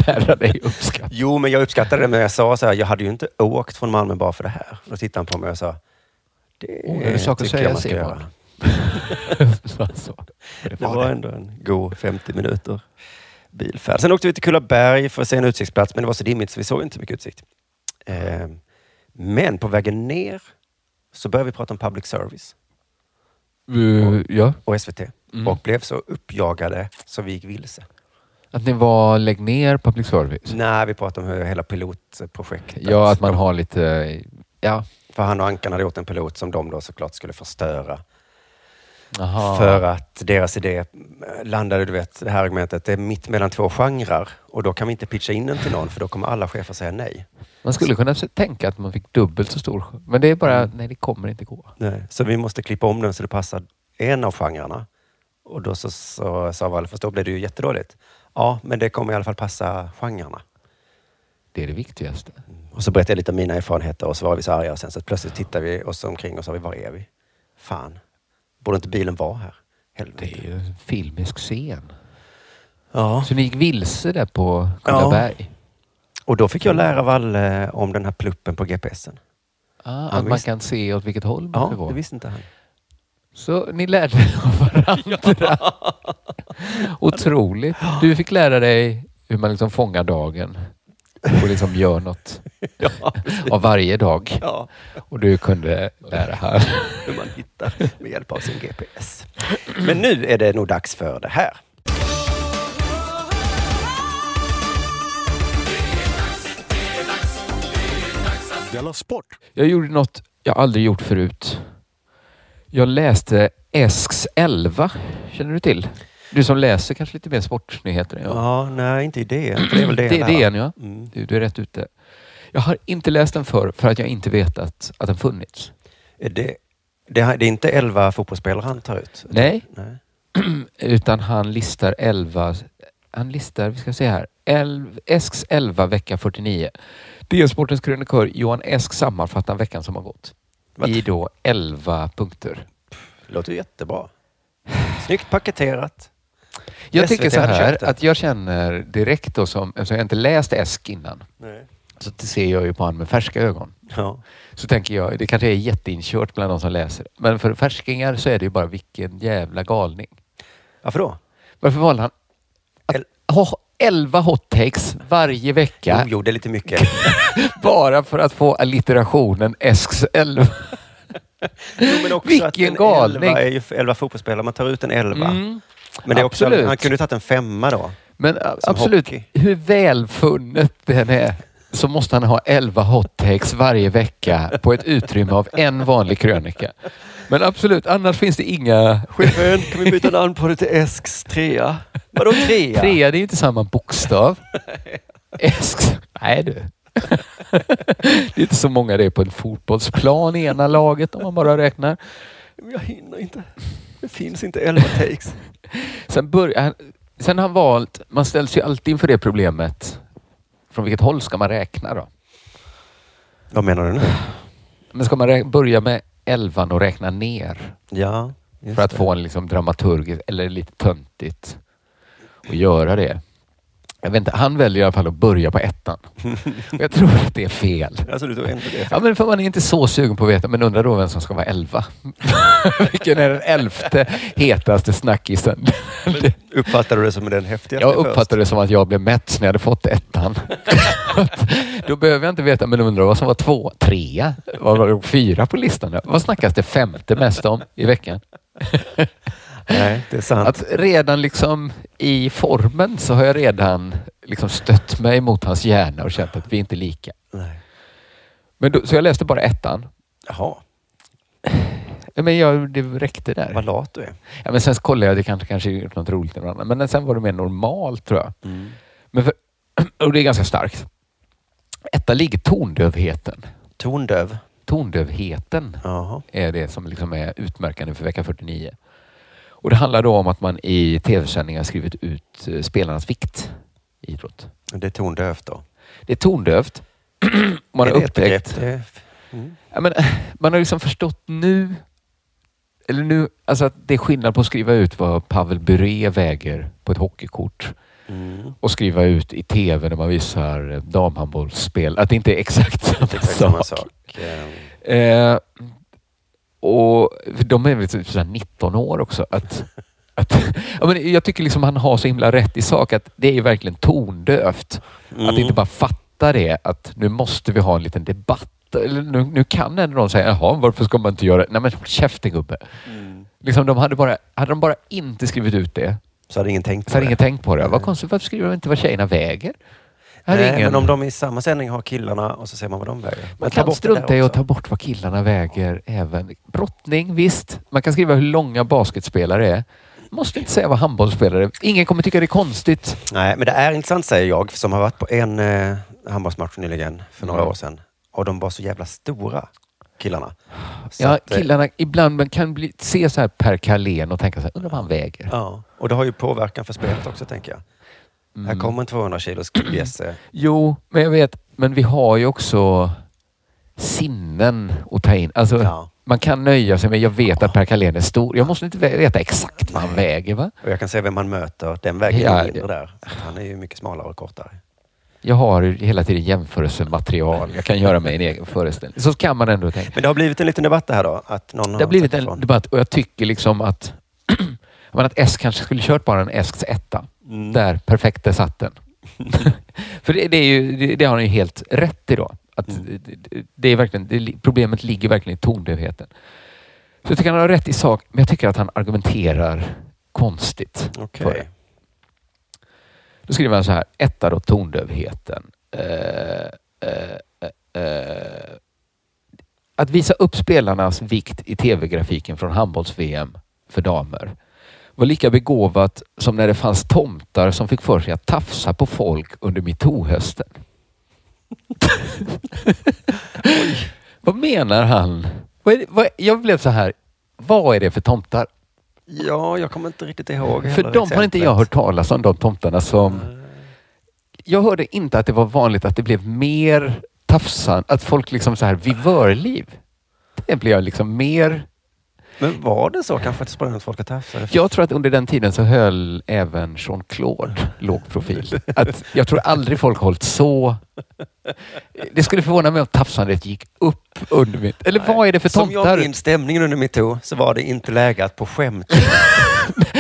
Speaker 2: lära dig
Speaker 1: *laughs*
Speaker 2: uppskatta.
Speaker 1: Jo, men jag uppskattade det, men jag sa så här, jag hade ju inte åkt från Malmö bara för det här. Då tittade han på mig och sa, det
Speaker 2: Åh, är det saker att
Speaker 1: tycker
Speaker 2: säga,
Speaker 1: jag man ska
Speaker 2: Simon?
Speaker 1: göra.
Speaker 2: Så, så.
Speaker 1: Det var ändå en god 50 minuter bilfärd. Sen åkte vi till Kullaberg för att se en utsiktsplats, men det var så dimmigt så vi såg inte så mycket utsikt. Eh, men på vägen ner så började vi prata om public service
Speaker 2: Uh, ja.
Speaker 1: och SVT
Speaker 2: Mm.
Speaker 1: och blev så uppjagade så vi gick vilse.
Speaker 2: Att ni var lägg ner public service?
Speaker 1: När vi pratade om hur hela pilotprojektet...
Speaker 2: Ja, att man har lite... Ja.
Speaker 1: För han och Ankan hade gjort en pilot som de då såklart skulle förstöra.
Speaker 2: Aha.
Speaker 1: För att deras idé eh, landade, du vet, det här argumentet, det är mitt mellan två genrer och då kan vi inte pitcha in den till någon för då kommer alla chefer säga nej.
Speaker 2: Man skulle kunna se- tänka att man fick dubbelt så stor skö- Men det är bara, nej det kommer inte gå.
Speaker 1: Nej, så vi måste klippa om den så det passar en av genrerna. Och då så, så sa Valle, fast då blev det ju jättedåligt. Ja, men det kommer i alla fall passa genrerna.
Speaker 2: Det är det viktigaste.
Speaker 1: Och så berättade jag lite om mina erfarenheter och så var vi så arga och sen så plötsligt tittade vi oss omkring och sa, vi, var är vi? Fan, borde inte bilen vara här?
Speaker 2: Det
Speaker 1: Helvete.
Speaker 2: är ju en filmisk scen.
Speaker 1: Ja,
Speaker 2: Så ni gick vilse där på Kullaberg?
Speaker 1: och då fick jag lära Valle om den här pluppen på GPSen.
Speaker 2: Ah,
Speaker 1: Ja,
Speaker 2: att man
Speaker 1: visst.
Speaker 2: kan se åt vilket håll man ska
Speaker 1: Ja, det
Speaker 2: gå?
Speaker 1: visste inte han.
Speaker 2: Så ni lärde er av
Speaker 1: *laughs*
Speaker 2: varandra? Otroligt. Du fick lära dig hur man liksom fångar dagen och liksom gör något
Speaker 1: *laughs* Ja, precis.
Speaker 2: av varje dag.
Speaker 1: Ja,
Speaker 2: Och du kunde lära här.
Speaker 1: hur man hittar med hjälp av sin GPS. Men nu är det nog dags för det här.
Speaker 4: Della Sport!
Speaker 2: Jag gjorde något jag aldrig gjort förut. Jag läste Esks 11. Känner du till? Du som läser kanske lite mer sportnyheter än jag.
Speaker 1: Ja, nej, inte idén. För det är väl det.
Speaker 2: det är
Speaker 1: där.
Speaker 2: DN ja.
Speaker 1: Mm.
Speaker 2: Du, du är rätt ute. Jag har inte läst den förr för att jag inte vetat att den funnits.
Speaker 1: Är Det, det, det är inte elva fotbollsspelare han tar ut?
Speaker 2: Nej,
Speaker 1: Nej.
Speaker 2: utan han listar 11. Han listar, vi ska se här, elv, Esks 11 vecka 49. DN-sportens krönikör Johan Esk sammanfattar veckan som har gått.
Speaker 1: Vad-
Speaker 2: I då 11 punkter.
Speaker 1: Det låter ju jättebra. *sighs* Snyggt paketerat.
Speaker 2: Jag
Speaker 1: SVT
Speaker 2: tänker så
Speaker 1: hade köpt
Speaker 2: här
Speaker 1: det.
Speaker 2: att jag känner direkt då som, eftersom jag inte läst Esk innan,
Speaker 1: Nej.
Speaker 2: så det ser jag ju på honom med färska ögon.
Speaker 1: Ja.
Speaker 2: Så tänker jag, det kanske är jätteinkört bland de som läser det. Men för färskingar så är det ju bara vilken jävla galning.
Speaker 1: Varför då?
Speaker 2: Varför valde han
Speaker 1: El-
Speaker 2: att ha 11 hot takes varje vecka
Speaker 1: Jo, jo, det är lite
Speaker 2: *laughs*
Speaker 1: mycket.
Speaker 2: bara för att få allitterationen Esks 11?
Speaker 1: Jo, men också
Speaker 2: Vilken
Speaker 1: att en
Speaker 2: galning.
Speaker 1: Elva är ju elva fotbollsspelare. Man tar ut en elva.
Speaker 2: Mm.
Speaker 1: Men det är också,
Speaker 2: absolut.
Speaker 1: han kunde ju tagit en femma då.
Speaker 2: Men a- absolut,
Speaker 1: hockey.
Speaker 2: hur välfunnet den är så måste han ha 11 hot takes varje vecka på ett utrymme av en vanlig krönika. Men absolut, annars finns det inga...
Speaker 1: Chefen, kan vi byta namn på det till Esks trea? Vadå trea?
Speaker 2: Trea, det är ju inte samma bokstav. Esks... Nej du. *laughs* Det är inte så många det är på en fotbollsplan i ena laget om man bara räknar.
Speaker 1: Jag hinner inte. Det finns inte elva takes.
Speaker 2: Sen, börjar han, sen har han valt, man ställs ju alltid inför det problemet. Från vilket håll ska man räkna då?
Speaker 1: Vad menar du nu?
Speaker 2: Men ska man rä- börja med elvan och räkna ner
Speaker 1: Ja, just
Speaker 2: för att
Speaker 1: det.
Speaker 2: få en liksom dramaturgisk, eller lite töntigt, och göra det? Jag vet inte, han väljer i alla fall att börja
Speaker 1: *laughs*
Speaker 2: på ettan. Och jag tror att det är fel.
Speaker 1: Alltså, du tog ändå det.
Speaker 2: Ja, men för man är inte så sugen på att veta, men undrar då vem som ska vara elva. *laughs* Vilken är den elfte hetaste snackisen?
Speaker 1: Uppfattade du det som den häftigaste
Speaker 2: Jag
Speaker 1: först?
Speaker 2: uppfattade det som att jag blev mätt när jag hade fått ettan. *laughs* då behöver jag inte veta, men undrar vad som var två, trea, vad var det, fyra på listan? då? Vad snackas det femte mest om i veckan?
Speaker 1: Nej, det är sant.
Speaker 2: Att redan liksom i formen så har jag redan liksom stött mig mot hans hjärna och känt att vi är inte lika.
Speaker 1: Nej.
Speaker 2: Men då, så jag läste bara ettan.
Speaker 1: Jaha,
Speaker 2: Ja, Men jag, det räckte där.
Speaker 1: vad lat du är.
Speaker 2: Ja, men sen så kollade jag, det kanske, kanske gjort något roligt eller något annat. Men sen var det mer normalt tror jag. *clears throat*
Speaker 1: Mm.
Speaker 2: Men för, och det är ganska starkt. Etta ligger tondövheten.
Speaker 1: Tondöv.
Speaker 2: Tondövheten
Speaker 1: Jaha.
Speaker 2: är det som liksom är utmärkande för vecka 49. Och det handlar då om att man i tv-sändningar skrivit ut eh, spelarnas vikt i idrott.
Speaker 1: Det är tondövt då.
Speaker 2: Det
Speaker 1: *clears throat*
Speaker 2: är tondövt. Man
Speaker 1: är
Speaker 2: har
Speaker 1: det ett
Speaker 2: upptäckt...
Speaker 1: begrepp? Det är- Mm.
Speaker 2: Ja, men, *clears throat* man har liksom förstått nu, eller nu, alltså att det är skillnad på att skriva ut vad Pavel Bure väger på ett hockeykort
Speaker 1: Mm.
Speaker 2: och skriva ut i tv när man visar eh, damhandbollsspel. Att det inte är exakt samma
Speaker 1: Det är
Speaker 2: sak.
Speaker 1: samma sak. Eh,
Speaker 2: Eh, och för de är väl typ sådär 19 år också. Att, att, ja, men jag tycker liksom han har så himla rätt i sak att det är ju verkligen tondövt.
Speaker 1: Mm.
Speaker 2: Att inte bara fatta det att nu måste vi ha en liten debatt. Eller nu, nu kan ändå någon säga, jaha, varför ska man inte göra det? Nej men håll käften gubbe.
Speaker 1: Mm.
Speaker 2: Liksom, de hade, bara, hade de bara inte skrivit ut det
Speaker 1: Så hade ingen tänkt
Speaker 2: så hade
Speaker 1: på
Speaker 2: ingen
Speaker 1: det.
Speaker 2: tänkt på det. Vad konstigt, varför skriver de inte vad tjejerna väger? Här är
Speaker 1: Nej,
Speaker 2: ingen...
Speaker 1: men om de i samma sändning har killarna och så ser man vad de väger.
Speaker 2: Man
Speaker 1: Men ta
Speaker 2: kan
Speaker 1: bort det där
Speaker 2: strunta i att
Speaker 1: också.
Speaker 2: ta bort vad killarna väger även. Brottning, visst. Man kan skriva hur långa basketspelare är. Måste inte säga vad handbollsspelare är. Ingen kommer tycka det är konstigt.
Speaker 1: Nej, men det är intressant säger jag, som har varit på en eh, handbollsmatch nyligen, för några
Speaker 2: Mm.
Speaker 1: år sedan. Och de var så jävla stora, killarna. Så
Speaker 2: Ja,
Speaker 1: att, eh,
Speaker 2: killarna ibland man kan bli, se så här Per Carlén och tänka så här, undrar vad han väger.
Speaker 1: Ja, och det har ju påverkan för spelet också, tänker jag.
Speaker 2: Mm.
Speaker 1: Här kommer en 200 kilos eh, bjässe.
Speaker 2: Jo, men jag vet. Men vi har ju också sinnen att ta in. Alltså,
Speaker 1: Ja.
Speaker 2: Man kan nöja sig med, jag vet att Per Carlén är stor. Jag måste inte vä- veta exakt vad han väger. Va?
Speaker 1: Och jag kan se vem man möter. Den väger
Speaker 2: Ja,
Speaker 1: ja,
Speaker 2: det-
Speaker 1: mindre där. Så att han är ju mycket smalare och kortare.
Speaker 2: Jag har hela tiden jämförelsematerial. Jag kan göra mig en egen föreställning. Så kan man ändå tänka.
Speaker 1: Men det har blivit en liten debatt det här då? Att någon
Speaker 2: Det har blivit
Speaker 1: sagt
Speaker 2: en
Speaker 1: ifrån.
Speaker 2: debatt och jag tycker liksom att, *clears throat* jag menar att S kanske skulle kört bara en Esks etta.
Speaker 1: Mm.
Speaker 2: Där, perfekt, där satt den. *laughs* För det, det, är ju, det, det har han ju helt rätt i då. Att det- det, det är verkligen, det, li- problemet ligger verkligen i tondövheten. Så jag tycker han har rätt i sak, men jag tycker att han argumenterar konstigt.
Speaker 1: Okej.
Speaker 2: för det. Då skriver han så här, etta då, tondövheten. Eh, eh, eh, att visa upp spelarnas vikt i tv-grafiken från handbolls-VM för damer var lika begåvat som när det fanns tomtar som fick för sig att tafsa på folk under metoo-hösten. *laughs* vad menar han? Vad är det, vad, jag blev så här, vad är det för tomtar?
Speaker 1: Ja, jag kommer inte riktigt ihåg.
Speaker 2: För
Speaker 1: heller
Speaker 2: de har inte
Speaker 1: exemplet.
Speaker 2: jag hört talas om, de tomtarna som... Jag hörde inte att det var vanligt att det blev mer tafsan, att folk liksom så här vivörliv. Det blev jag liksom mer...
Speaker 1: Men var det så kanske att det sprang runt folk och tafsade?
Speaker 2: Jag tror att under den tiden så höll även Jean-Claude låg profil. Att jag tror aldrig folk hållit så... Det skulle förvåna mig om tafsandet gick upp under mitt... Eller vad är det för
Speaker 1: Som jag
Speaker 2: tomtar?
Speaker 1: minns stämningen under metoo så var det inte läge att på
Speaker 2: *laughs*
Speaker 1: skämt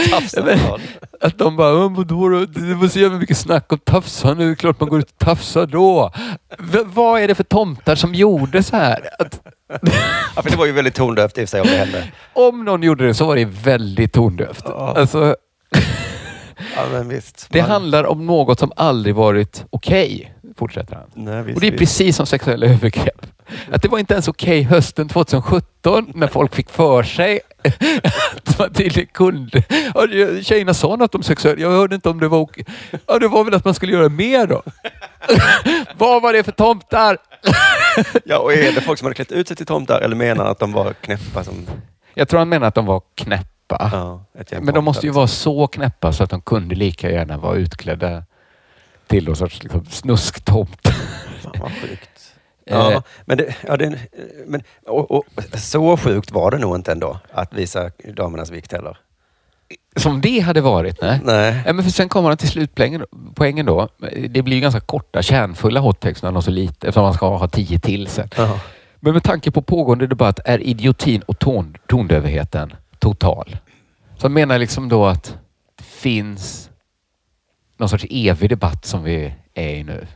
Speaker 1: tafsa.
Speaker 2: Att de bara, "Äh, vadå då? Det var så jävla mycket snack om tafsande. Det är klart man går ut och tafsar då. V- vad är det för tomtar som gjorde så här? Att
Speaker 1: Ja, för det var ju väldigt tondövt i och för sig om det hände.
Speaker 2: om någon gjorde det så var det väldigt tondövt.
Speaker 1: Ja.
Speaker 2: Alltså,
Speaker 1: Ja, men visst.
Speaker 2: det
Speaker 1: Man-
Speaker 2: handlar om något som aldrig varit okej, fortsätter han.
Speaker 1: Nej, visst,
Speaker 2: Och det är
Speaker 1: visst.
Speaker 2: precis som sexuella övergrepp. Att det var inte ens okej hösten 2017 när folk fick för sig att man tydligen kunde. Ja, det- Tjejerna sa något om sexuella. Jag hörde inte om det var okej. Ja, det var väl att man skulle göra mer då. *laughs* Vad var det för tomtar?
Speaker 1: Ja, och är det folk som hade klätt ut sig till tomtar eller menar att de var knäppa som...
Speaker 2: Jag tror han menar att de var knäppa.
Speaker 1: Ja, ett gäng
Speaker 2: Ah. Men de måste ju
Speaker 1: tomtar.
Speaker 2: vara så knäppa så att de kunde lika gärna vara utklädda till någon sorts liksom, snusktomt.
Speaker 1: Fan vad sjukt.
Speaker 2: *laughs* Eh.
Speaker 1: Ja, men, det, ja, det, eh, men och, och, så sjukt var det nog inte ändå att visa damernas vikt heller.
Speaker 2: Som det hade varit, nej.
Speaker 1: Nej.
Speaker 2: Ja, men för sen kommer han till slutpoängen poängen då. Det blir ju ganska korta, kärnfulla hottext när han har så lite eftersom han ska ha tio till sen.
Speaker 1: Ja.
Speaker 2: Men med tanke på pågående debatt är idiotin och ton, tondövheten total. Så han menar liksom då att det finns någon sorts evig debatt som vi är i nu,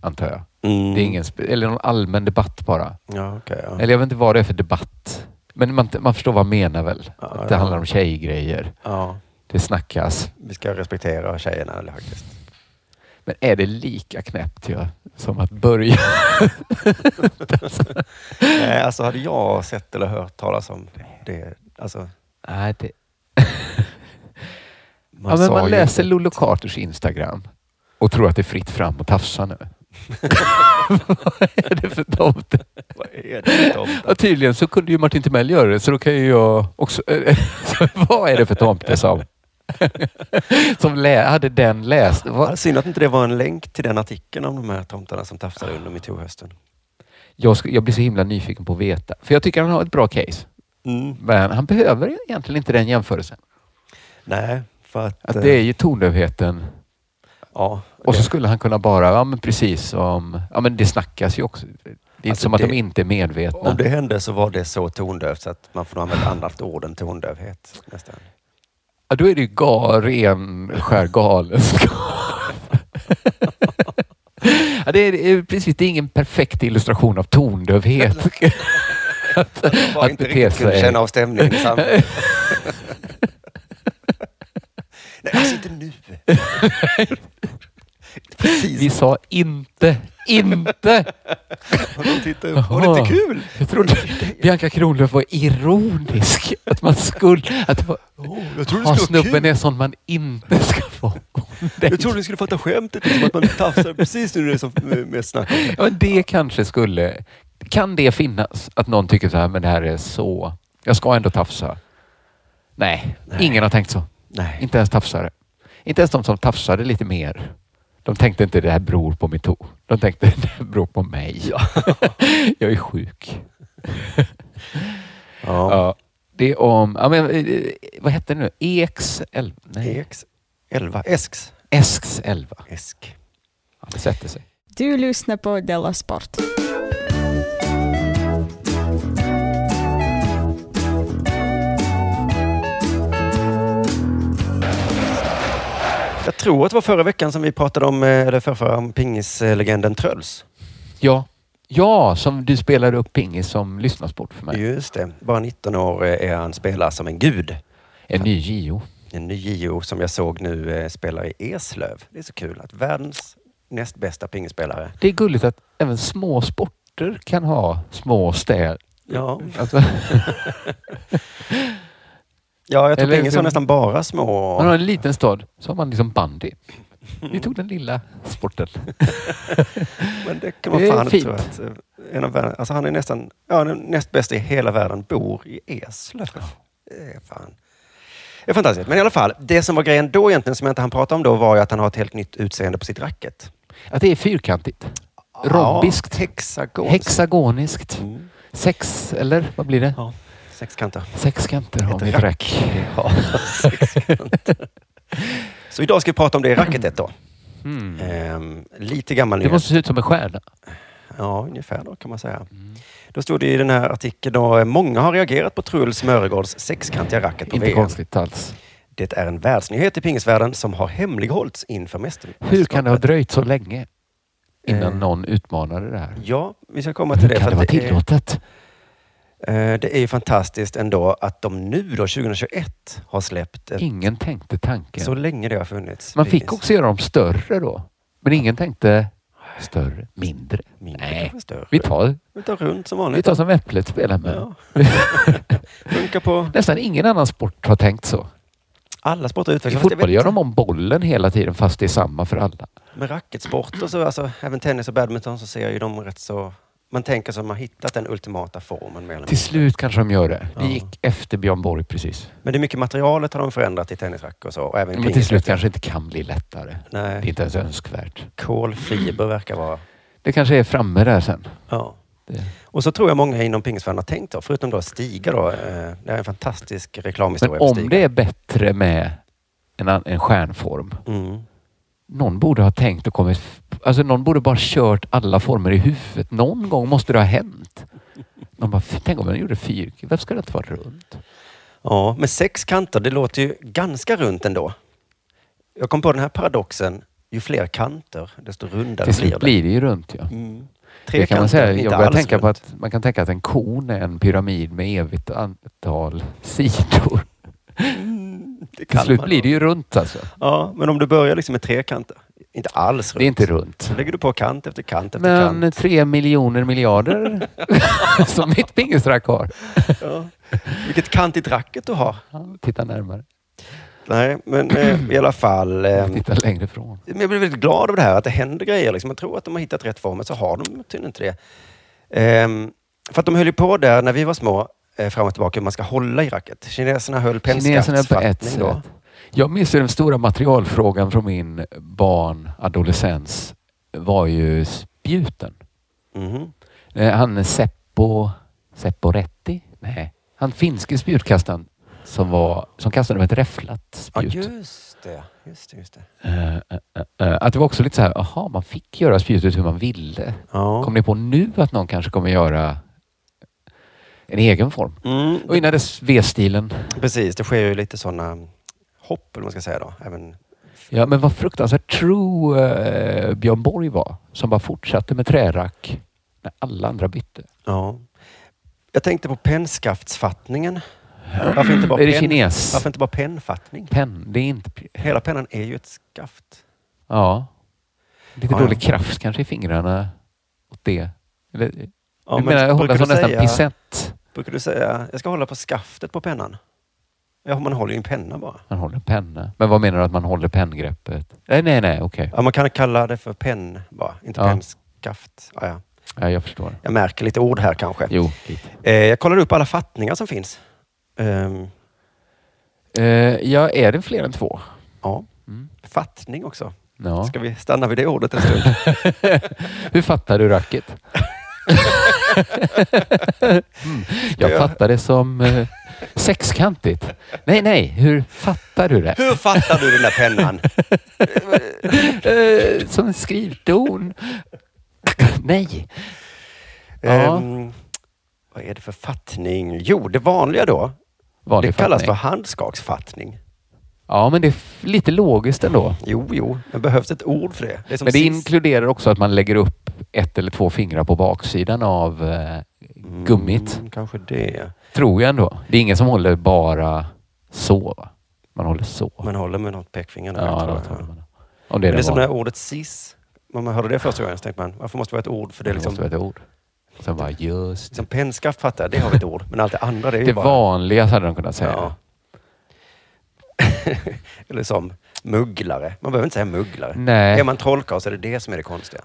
Speaker 2: antar jag.
Speaker 1: Mm.
Speaker 2: Det är ingen, spe- eller någon allmän debatt bara.
Speaker 1: Ja, okej. ja.
Speaker 2: Eller jag vet inte vad det är för debatt. Men man, man förstår vad han menar väl?
Speaker 1: Ja,
Speaker 2: att det
Speaker 1: ja.
Speaker 2: handlar om tjejgrejer.
Speaker 1: Ja,
Speaker 2: Det snackas.
Speaker 1: vi ska respektera tjejerna faktiskt.
Speaker 2: Men är det lika knäppt ja, som att börja?
Speaker 1: Nej, alltså hade jag sett eller hört talas om det, alltså
Speaker 2: Nej, det...
Speaker 1: man
Speaker 2: Man, ja, men
Speaker 1: sa
Speaker 2: man
Speaker 1: ju
Speaker 2: läser
Speaker 1: inte-
Speaker 2: Lollo Carters Instagram och tror att det är fritt fram och tafsa nu. Vad är det för tomte?
Speaker 1: Vad är det för
Speaker 2: *laughs*
Speaker 1: tomtar?
Speaker 2: Ja, tydligen så kunde ju Martin Timell göra det, så då kan ju jag också... *laughs* Så Vad är det för tomte som, *laughs* som lä, hade den läst?
Speaker 1: Ja,
Speaker 2: Vad-
Speaker 1: Synd att inte det var en länk till den artikeln om de här tomtarna som tafsade under metoo-hösten.
Speaker 2: Jag, ska, jag blir så himla nyfiken på att veta, för jag tycker han har ett bra case.
Speaker 1: Mm.
Speaker 2: Men han behöver egentligen inte den jämförelsen.
Speaker 1: Nej, för att...
Speaker 2: Att det är
Speaker 1: eh,
Speaker 2: ju tondövheten.
Speaker 1: ja,
Speaker 2: Och så
Speaker 1: det-
Speaker 2: skulle han kunna bara, ja men precis som, ja men det snackas ju också. Det är inte
Speaker 1: Alltså
Speaker 2: som att
Speaker 1: det-
Speaker 2: de inte är medvetna.
Speaker 1: om det hände så var det så tondövt så att man får nog använda ett annat ord än tondövhet. Nästan.
Speaker 2: Ja, då är det ju ga, ren, skär galenskap. ja, det är, det är precis, det är ingen perfekt illustration av tondövhet. att,
Speaker 1: Bara
Speaker 2: att
Speaker 1: inte
Speaker 2: bete
Speaker 1: riktigt kunde
Speaker 2: sig.
Speaker 1: känna av stämningen i samhället.
Speaker 2: *laughs*
Speaker 1: Nej, alltså inte
Speaker 2: *laughs*
Speaker 1: nu.
Speaker 2: Vi
Speaker 1: Precis.
Speaker 2: sa inte, INTE!
Speaker 1: Och de tittar upp. Var det inte kul?
Speaker 2: Jag trodde Bianca Kronlöf var ironisk. Att man skulle... Att det var,
Speaker 1: Åh, jag trodde
Speaker 2: ja,
Speaker 1: det skulle vara
Speaker 2: snubben
Speaker 1: kul.
Speaker 2: är sån man inte ska vara.
Speaker 1: Jag trodde ni skulle fatta skämtet, liksom, att man tafsar precis nu när det är som eh, mest snack om.
Speaker 2: Ja, men det kanske skulle... Kan det finnas att någon tycker så här, men det här är så... Jag ska ändå tafsa. Nej,
Speaker 1: Nej.
Speaker 2: ingen har tänkt så.
Speaker 1: Nej.
Speaker 2: Inte ens tafsare. Inte ens de som tafsade lite mer. De tänkte inte det här beror på metoo. De tänkte *laughs* det här beror på mig. *laughs* jag är sjuk. Ja.
Speaker 1: Ja.
Speaker 2: det är om... Ja, men, eh, vad hette det nu? EX11? Nej,
Speaker 1: EX 11. Esks.
Speaker 2: ESX11.
Speaker 1: Esk.
Speaker 2: Ja, det sätter sig.
Speaker 5: Du lyssnar på Della Sport.
Speaker 1: Jag tror att det var förra veckan som vi pratade om, eh, eller förrförra, om pingislegenden Tröls.
Speaker 2: Ja. ja, som du spelade upp pingis som lyssnarsport för mig.
Speaker 1: Just det. Bara 19 år eh, är han spelar som en gud.
Speaker 2: En ny JO.
Speaker 1: En ny JO som jag såg nu eh, spelar i Eslöv. Det är så kul att världens näst bästa pingisspelare.
Speaker 2: Det är gulligt att även små sporter kan ha små städer.
Speaker 1: Ja,
Speaker 2: Alltså,
Speaker 1: ja jag tror
Speaker 2: Eller-
Speaker 1: pingis har nästan bara små...
Speaker 2: man har en liten stad så har man liksom bandy. Vi tog den lilla sporten.
Speaker 1: Men det kan man
Speaker 2: Det är
Speaker 1: fan inte
Speaker 2: fint.
Speaker 1: tro att eh, en av världen, alltså han är nästan, ja den näst bästa i hela världen bor i Eslöv. Det är fan. Det är fantastiskt. Men i alla fall, det som var grejen då egentligen, som jag inte hann prata om då, var ju att han har ett helt nytt utseende på sitt racket.
Speaker 2: Att det är fyrkantigt. Rombiskt.
Speaker 1: Ja, hexagons.
Speaker 2: Hexagoniskt.
Speaker 1: Mm.
Speaker 2: Sex, eller vad blir det?
Speaker 1: Ja, sexkanter.
Speaker 2: Sex kanter har
Speaker 1: Ett
Speaker 2: mitt rack.
Speaker 1: Ja, *laughs* sexkanter. Så idag ska vi prata om det racketet då.
Speaker 2: Mm.
Speaker 1: Ehm, lite gammal
Speaker 2: Det
Speaker 1: nyhet.
Speaker 2: måste se ut som en stjärna.
Speaker 1: Ja, ungefär då kan man säga. Då stod det i den här artikeln då, eh, många har reagerat på Truls Mörgårds sexkantiga racket på
Speaker 2: Inte
Speaker 1: VM.
Speaker 2: konstigt alls.
Speaker 1: Det är en världsnyhet i pingisvärlden som har hemlighållits inför mästerskapet.
Speaker 2: Hur kan det ha dröjt så länge innan
Speaker 1: Eh.
Speaker 2: någon utmanade det här?
Speaker 1: Ja, vi ska komma till
Speaker 2: Hur
Speaker 1: det.
Speaker 2: kan
Speaker 1: för
Speaker 2: det vara
Speaker 1: att är-
Speaker 2: tillåtet?
Speaker 1: eh, det är ju fantastiskt ändå att de nu då, 2021, har släppt ett,
Speaker 2: Ingen tänkte tanken.
Speaker 1: så länge det har funnits.
Speaker 2: Man fick
Speaker 1: pingis.
Speaker 2: också göra dem större då. Men ingen tänkte större, mindre.
Speaker 1: Mindre,
Speaker 2: Nej,
Speaker 1: kanske större.
Speaker 2: vi tar,
Speaker 1: Vi tar runt som
Speaker 2: vi
Speaker 1: vanligt.
Speaker 2: tar som äpplet spelar med.
Speaker 1: Ja. *laughs* Funkar på
Speaker 2: Nästan ingen annan sport har tänkt så.
Speaker 1: alla sporter
Speaker 2: I
Speaker 1: utvecklas. Fast jag
Speaker 2: fotboll
Speaker 1: vet
Speaker 2: gör de om bollen hela tiden fast det är samma för alla.
Speaker 1: Med racketsport och så, alltså, även tennis och badminton, så ser ju de rätt så... Man tänker sig att man hittat den ultimata formen. Med
Speaker 2: Till slut kanske de gör det. Det
Speaker 1: Ja.
Speaker 2: gick efter Björn Borg precis.
Speaker 1: Men det är mycket materialet har de förändrat i tennisracket och så. Och även
Speaker 2: Men till slut kanske inte kan bli lättare. Det är
Speaker 1: Nej,
Speaker 2: inte ens önskvärt.
Speaker 1: kolfiber verkar vara...
Speaker 2: Det kanske är framme där sen.
Speaker 1: Ja.
Speaker 2: Det.
Speaker 1: Och så tror jag många inom pingisvärlden har tänkt då, förutom då Stiga då. eh, Det är en fantastisk
Speaker 2: Men
Speaker 1: reklamhistoria för
Speaker 2: om
Speaker 1: Stiga.
Speaker 2: det är bättre med en, an- en stjärnform
Speaker 1: Mm.
Speaker 2: någon borde ha tänkt och kommit... Alltså någon borde bara kört alla former i huvudet. Någon gång måste det ha hänt. Någon bara, tänk om den gjorde fyrkant. Varför ska det inte vara runt?
Speaker 1: Ja, men sex kanter, det låter ju ganska runt ändå. Jag kom på den här paradoxen, ju fler kanter, desto rundare
Speaker 2: Till slut
Speaker 1: blir det.
Speaker 2: blir det ju runt ja.
Speaker 1: Mm.
Speaker 2: Det kan man säga.
Speaker 1: inte
Speaker 2: Jag börjar
Speaker 1: alls
Speaker 2: tänka på
Speaker 1: runt.
Speaker 2: att man kan tänka att en kon är en pyramid med evigt antal sidor.
Speaker 1: Det
Speaker 2: Till
Speaker 1: kan
Speaker 2: slut
Speaker 1: man
Speaker 2: blir
Speaker 1: då.
Speaker 2: det ju runt alltså.
Speaker 1: Ja, men om du börjar liksom med trekanter. Inte alls runt.
Speaker 2: Det är inte runt.
Speaker 1: Så lägger du på kant efter kant efter
Speaker 2: Men
Speaker 1: kant.
Speaker 2: tre
Speaker 1: *laughs*
Speaker 2: miljoner miljarder *laughs* som mitt pingisrack har.
Speaker 1: Ja. Vilket kantigt racket du har.
Speaker 2: Ja, Titta närmare.
Speaker 1: Nej, men eh, i alla fall. Eh,
Speaker 2: Titta längre ifrån.
Speaker 1: men jag blir väldigt glad över det här, att det händer grejer. Liksom. Jag tror att de har hittat rätt form, men så har de tydligen inte det. Ehm, för att de höll ju på där när vi var små, eh, fram och tillbaka, hur man ska hålla i racket. Kineserna höll
Speaker 2: Kineserna på ett
Speaker 1: pennskaftsfattning då.
Speaker 2: sätt. Jag minns ju den stora materialfrågan från min barn, adolescens, var ju spjuten.
Speaker 1: Mhm.
Speaker 2: Eh, Han Seppo, Seppo Retti? Nej, han finske spjutkastaren som, var, som kastade med ett räfflat
Speaker 1: Ja,
Speaker 2: spjut.
Speaker 1: just det. Just det, just det.
Speaker 2: Eh, eh, eh, eh, att det var också lite så här, jaha, man fick göra spjutet hur man ville.
Speaker 1: Ja.
Speaker 2: Kom ni på nu att någon kanske kommer göra en egen form?
Speaker 1: Mm,
Speaker 2: Och innan dess V-stilen.
Speaker 1: precis, det sker ju lite sådana hopp, eller vad man ska säga då. Även,
Speaker 2: Ja, men vad fruktansvärt true eh, Björn Borg var som bara fortsatte med trärack när alla andra bytte.
Speaker 1: ja. Jag tänkte på pennskaftsfattningen. Varför inte bara,
Speaker 2: Är det
Speaker 1: penn-
Speaker 2: kines?
Speaker 1: varför inte bara pennfattning?
Speaker 2: Penn, det är inte...
Speaker 1: Hela pennan är ju ett skaft.
Speaker 2: Ja. Lite
Speaker 1: Ja, ja.
Speaker 2: dålig kraft kanske i fingrarna åt det. Eller,
Speaker 1: Ja,
Speaker 2: du menar hålla
Speaker 1: brukar,
Speaker 2: som
Speaker 1: du
Speaker 2: nästan
Speaker 1: säga,
Speaker 2: pisett?
Speaker 1: brukar du säga, jag ska hålla på skaftet på pennan? Ja, man håller ju en penna bara.
Speaker 2: Man håller penna. Men vad menar du att man håller penngreppet? Nej, nej, nej, okej.
Speaker 1: Ja, man kan kalla det för penn bara, inte
Speaker 2: Ja.
Speaker 1: pennskaft. Ja, ja.
Speaker 2: Ja, jag förstår.
Speaker 1: Jag märker lite ord här kanske.
Speaker 2: Jo.
Speaker 1: Eh, jag kollade upp alla fattningar som finns. Ehm,
Speaker 2: Eh, ja, är det fler än två?
Speaker 1: ja,
Speaker 2: Mm.
Speaker 1: fattning också.
Speaker 2: Ja.
Speaker 1: Ska vi stanna vid det ordet en stund?
Speaker 2: *laughs* Hur fattar du racket? mm. Jag
Speaker 1: Ja.
Speaker 2: fattar det som eh, sexkantigt. Nej, nej, hur fattar du det?
Speaker 1: Hur fattar du den där pennan?
Speaker 2: Eh, som en skrivdon. nej. *laughs* Ja.
Speaker 1: Ehm, vad är det för fattning? Jo, det vanliga då.
Speaker 2: Vanlig
Speaker 1: det kallas
Speaker 2: fattning.
Speaker 1: för handskaksfattning.
Speaker 2: Ja, men det är f- lite logiskt ändå.
Speaker 1: Jo, jo, men behövs ett ord för det? det är Mm. som
Speaker 2: Men det
Speaker 1: sist.
Speaker 2: inkluderar också att man lägger upp ett eller två fingrar på baksidan av eh, gummit,
Speaker 1: Mm, kanske det.
Speaker 2: tror jag ändå. Det är ingen som håller bara så. Va? Man håller så.
Speaker 1: Man håller med något pekfinger där.
Speaker 2: ja,
Speaker 1: tror
Speaker 2: då
Speaker 1: jag.
Speaker 2: tar
Speaker 1: Men
Speaker 2: man det. Om det är
Speaker 1: det är som det
Speaker 2: vanliga.
Speaker 1: här ordet cis. När man hörde det första gången så tänkte man, varför måste det vara ett ord för det?
Speaker 2: det
Speaker 1: är liksom,
Speaker 2: måste vara ett ord. Sen bara, just det.
Speaker 1: liksom pennskaft fattar jag, det har vi ett ord. Men allt det andra det är ju
Speaker 2: Det
Speaker 1: bara...
Speaker 2: vanliga hade de kunnat säga.
Speaker 1: Ja. Eller som mugglare. Man behöver inte säga mugglare.
Speaker 2: Nej,
Speaker 1: Är man trollkarl så är det det som är det konstiga.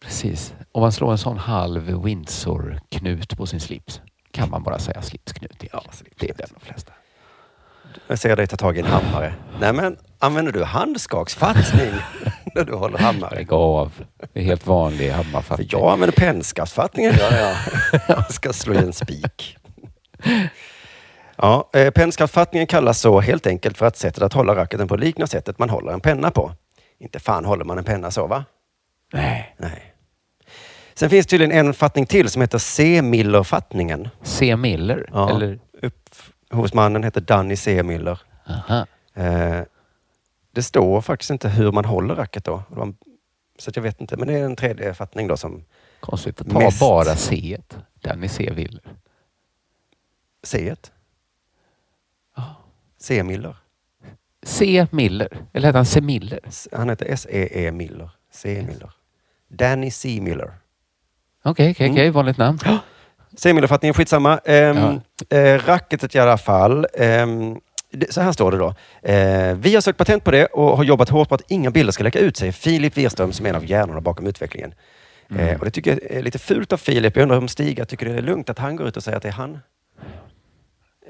Speaker 2: precis. Om man slår en sån halv Windsor-knut på sin slips kan man bara säga slipsknut. Ja, Det är det de flesta.
Speaker 1: Jag ser dig ta tag i en hammare. Nej men, använder du handskaksfattning *laughs* när du håller hammare?
Speaker 2: Lägg av. Det är helt vanlig hammarfattning.
Speaker 1: För jag använder pennskaftfattningen gör jag. *laughs* Jag ska slå i en spik. Ja, eh, pennskaftfattningen kallas så helt enkelt för att sättet att hålla racketen på liknar sättet man håller en penna på. Inte fan håller man en penna så va?
Speaker 2: Nej.
Speaker 1: Nej. Sen finns tydligen en fattning till som heter C-Miller-fattningen.
Speaker 2: C. Miller?
Speaker 1: Ja.
Speaker 2: Eller?
Speaker 1: Upphovsmannen heter Danny C. Miller.
Speaker 2: Aha.
Speaker 1: Eh, det står faktiskt inte hur man håller racket då. Och de- Så att jag vet inte, men det är en tredje fattning då som
Speaker 2: Konstigt att ta
Speaker 1: Mest.
Speaker 2: bara C. -et. Danny C. Miller.
Speaker 1: C. -et. C. Miller.
Speaker 2: C. Miller. Eller hette han C. Miller?
Speaker 1: S- Han heter S-E-E Miller. C. Miller. Danny C. Miller.
Speaker 2: Okej,
Speaker 1: Mm.
Speaker 2: okej, okej. Vanligt namn.
Speaker 1: C. Miller-fattningen, skitsamma. Um, eh, racketet i alla fall. Ehm, det, så här står det då. Eh, vi har sökt patent på det och har jobbat hårt på att inga bilder ska läcka ut, säger Filip Wirström som är en av hjärnorna bakom utvecklingen.
Speaker 2: Mm.
Speaker 1: Eh, och det tycker jag är lite fult av Filip. Jag undrar om Stiga tycker det är lugnt att han går ut och säger att det är han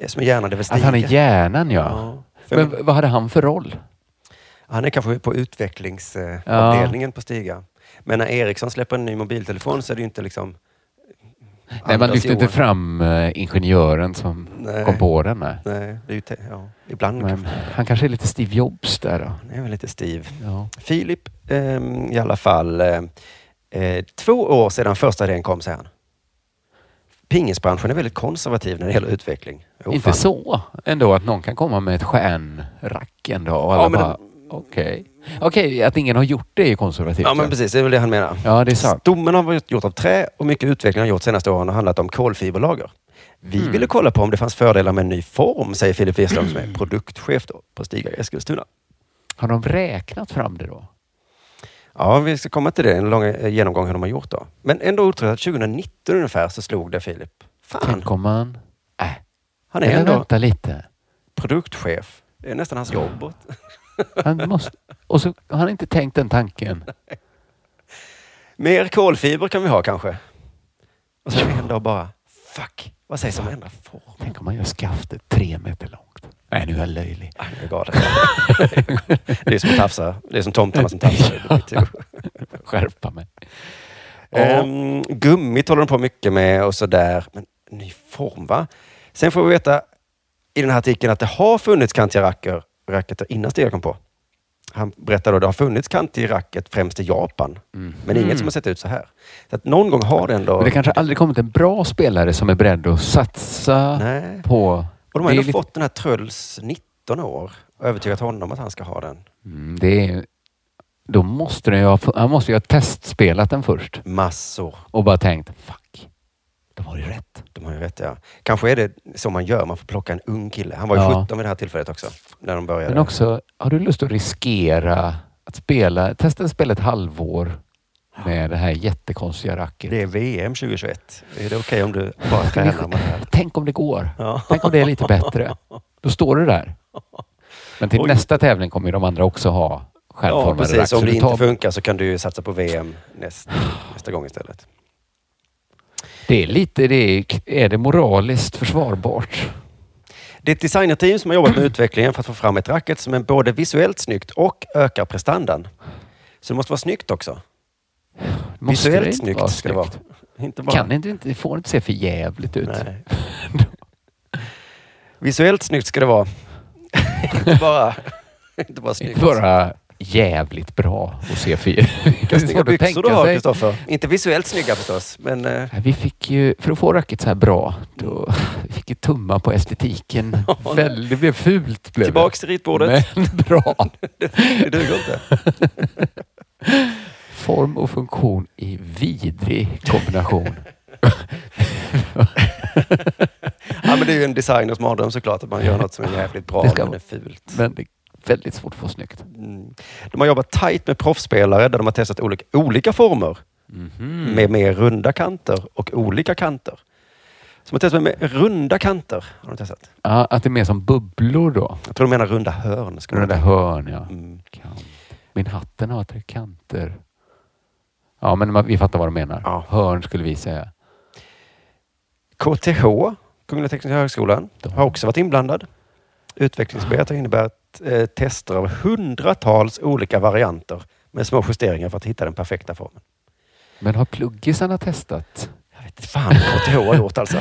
Speaker 1: eh, som är hjärnan. Det är väl Stiga?
Speaker 2: Att han är hjärnan, ja.
Speaker 1: Ja. För
Speaker 2: Men v- vad hade han för roll?
Speaker 1: Han är kanske på utvecklingsavdelningen på Stiga. Men när Ericsson släpper en ny mobiltelefon så är det ju inte liksom...
Speaker 2: Nej, man
Speaker 1: Anders
Speaker 2: lyfte inte
Speaker 1: Johan.
Speaker 2: fram eh, ingenjören som
Speaker 1: Nej. Mm.
Speaker 2: kom på den. Nej.
Speaker 1: Nej, det är ju te- ja. Ibland
Speaker 2: Men
Speaker 1: kanske.
Speaker 2: han kanske är lite Steve Jobs där då.
Speaker 1: Han är väl lite stiv.
Speaker 2: Ja.
Speaker 1: Filip ehm, i alla fall. Eh, eh, två år sedan första idén kom, säger han. Pingisbranschen är väldigt konservativ när det gäller utveckling. Jo,
Speaker 2: inte
Speaker 1: fan.
Speaker 2: så ändå att någon kan komma med ett stjärnrack en dag och alla
Speaker 1: Ja, men
Speaker 2: bara,
Speaker 1: de,
Speaker 2: Okej. Okej, att ingen har gjort det är konservativt.
Speaker 1: Ja, men precis. Det är väl det han menar.
Speaker 2: ja det är sant.
Speaker 1: Stommen har varit gjort av trä och mycket utveckling har gjorts senaste åren och handlat om kolfiberlager. Vi
Speaker 2: Mm.
Speaker 1: ville kolla på om det fanns fördelar med en ny form, säger Filip Wirström
Speaker 2: Mm.
Speaker 1: som är produktchef då, på Stiga i Eskilstuna.
Speaker 2: Har de räknat fram det då?
Speaker 1: Ja, vi ska komma till det. En lång eh, genomgång hur de har gjort då. Men ändå otroligt att 2019 ungefär så slog det Filip. Fan,
Speaker 2: Tänk om man... Äh,
Speaker 1: han är
Speaker 2: eller
Speaker 1: ändå
Speaker 2: vänta lite.
Speaker 1: produktchef. Det är nästan hans jobb.
Speaker 2: Han måste... Och så har han inte tänkt den tanken.
Speaker 1: Mer kolfiber kan vi ha kanske. Och sen en dag bara, fuck, vad sägs om att ändra form?
Speaker 2: Tänk om man gör skaftet tre meter långt. Nej, nu är jag löjlig.
Speaker 1: Ah, jag är
Speaker 2: *laughs*
Speaker 1: galen. Det är som att tafsa. Det är som tomtarna som
Speaker 2: *laughs*
Speaker 1: tafsar.
Speaker 2: Skärpa mig. Eh, Ja.
Speaker 1: Um, gummit håller de på mycket med och sådär. Men ny form va? Sen får vi veta i den här artikeln att det har funnits kantiga racker, racketar innan Stig kom på. Han berättar då att det har funnits kantig racket främst i Japan. Men inget som har sett ut så här. Så att någon gång har det ändå...
Speaker 2: mm. Men det kanske aldrig kommit en bra spelare som är beredd att satsa
Speaker 1: Nej.
Speaker 2: på...
Speaker 1: Och de har
Speaker 2: det, är
Speaker 1: ändå
Speaker 2: lite-
Speaker 1: fått den här Trulls 19 år och övertygat honom att han ska ha den.
Speaker 2: Mm, det är... Då måste den ju ha... Han måste ju ha testspelat den först
Speaker 1: Massor.
Speaker 2: och bara tänkt, fuck, de har ju rätt.
Speaker 1: De har ju rätt ja. Kanske är det så man gör, man får plocka en ung kille. Han var ju
Speaker 2: Ja.
Speaker 1: 17 vid det här tillfället också. När de började.
Speaker 2: Men också, har du lust att riskera att spela, testa att spela ett halvår med det här jättekonstiga racket?
Speaker 1: Det är VM 2021. Är det okej om du bara
Speaker 2: Ska vi-
Speaker 1: tränar med det här?
Speaker 2: Tänk om det går.
Speaker 1: Ja.
Speaker 2: Tänk om det är lite bättre. Då står du där. Men till
Speaker 1: Oj.
Speaker 2: nästa tävling kommer ju de andra också ha
Speaker 1: Ja,
Speaker 2: självformade rack.
Speaker 1: precis.
Speaker 2: Så
Speaker 1: Om det
Speaker 2: du
Speaker 1: inte
Speaker 2: tar-
Speaker 1: funkar så kan du ju satsa på VM nästa, nästa gång istället.
Speaker 2: Det är lite det. Är, är det moraliskt försvarbart?
Speaker 1: Det är ett designerteam som har jobbat med utvecklingen för att få fram ett racket som är både visuellt snyggt och ökar prestandan. Så det måste vara snyggt också.
Speaker 2: Måste
Speaker 1: visuellt
Speaker 2: inte
Speaker 1: snyggt
Speaker 2: vara
Speaker 1: ska det vara.
Speaker 2: snyggt?
Speaker 1: Inte bara.
Speaker 2: Kan det inte, det får inte se för jävligt ut.
Speaker 1: Nej. Visuellt snyggt ska det vara. *laughs* inte bara, inte bara snyggt.
Speaker 2: Inte bara jävligt bra och se för *laughs* jävligt
Speaker 1: Vilka snygga byxor du har, Kristoffer. Inte visuellt snygga förstås, men eh,
Speaker 2: Vi fick ju, för att få racket så här bra, då vi fick ju tumma
Speaker 1: *laughs*
Speaker 2: på estetiken. Väl, det blev fult. Blev det.
Speaker 1: tillbaks till ritbordet.
Speaker 2: Men *laughs* bra.
Speaker 1: Det duger inte.
Speaker 2: Form och funktion i vidrig
Speaker 1: *laughs*
Speaker 2: kombination.
Speaker 1: Ja, men det är ju en designers mardröm såklart, att man gör något som är jävligt bra
Speaker 2: Det ska
Speaker 1: men är
Speaker 2: vara.
Speaker 1: fult.
Speaker 2: Men det är väldigt svårt att få snyggt.
Speaker 1: Mm. De har jobbat tajt med proffsspelare där de har testat olika, olika former
Speaker 2: Mm.
Speaker 1: med mer runda kanter och olika kanter. Så de har testat med runda kanter. Har de testat.
Speaker 2: Ja, att det är mer som bubblor då.
Speaker 1: Jag tror de menar runda hörn. Skulle
Speaker 2: Runda
Speaker 1: de-
Speaker 2: hörn, ja.
Speaker 1: Mm.
Speaker 2: Kant. Min hatten har tre kanter. Ja, men man- vi fattar vad de menar.
Speaker 1: Ja.
Speaker 2: Hörn skulle vi säga.
Speaker 1: KTH, Kungliga Tekniska Högskolan, har också varit inblandad. Utvecklingsarbetet har inneburit eh, tester av hundratals olika varianter med små justeringar för att hitta den perfekta formen.
Speaker 2: Men har pluggisarna testat?
Speaker 1: Jag vet inte fan vad KTH har gjort alltså.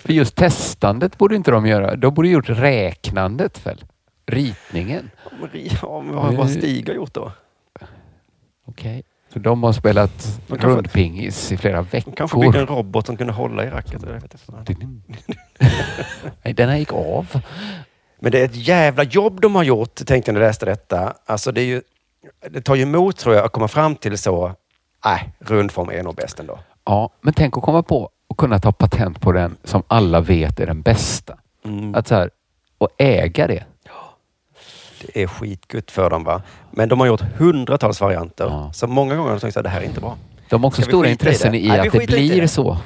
Speaker 2: För just testandet borde inte de göra. De borde gjort räknandet väl? Ritningen.
Speaker 1: Ja, men vad vad Stig har gjort då?
Speaker 2: Okej. Så de har spelat
Speaker 1: De kanske-
Speaker 2: rundpingis i flera
Speaker 1: De
Speaker 2: veckor.
Speaker 1: kanske byggde en robot som kunde hålla i racket. eller jag vet inte vad.
Speaker 2: Nej, den här gick av.
Speaker 1: Men det är ett jävla jobb de har gjort, tänkte jag när jag läste detta. Alltså det, är ju, det tar ju emot tror jag att komma fram till så, nej, rundform är nog bäst ändå.
Speaker 2: Ja, men tänk att komma på och kunna ta patent på den som alla vet är den bästa.
Speaker 1: Mm.
Speaker 2: Att så här, och äga det.
Speaker 1: Det är skitgött för dem va. Men de har gjort hundratals varianter.
Speaker 2: Ja.
Speaker 1: Så många gånger har de tänkt att det här är inte bra.
Speaker 2: De har också
Speaker 1: Ska vi skita
Speaker 2: stora
Speaker 1: i
Speaker 2: intressen
Speaker 1: det?
Speaker 2: i,
Speaker 1: Nej, vi
Speaker 2: att det
Speaker 1: skiter inte i
Speaker 2: blir
Speaker 1: det.
Speaker 2: så.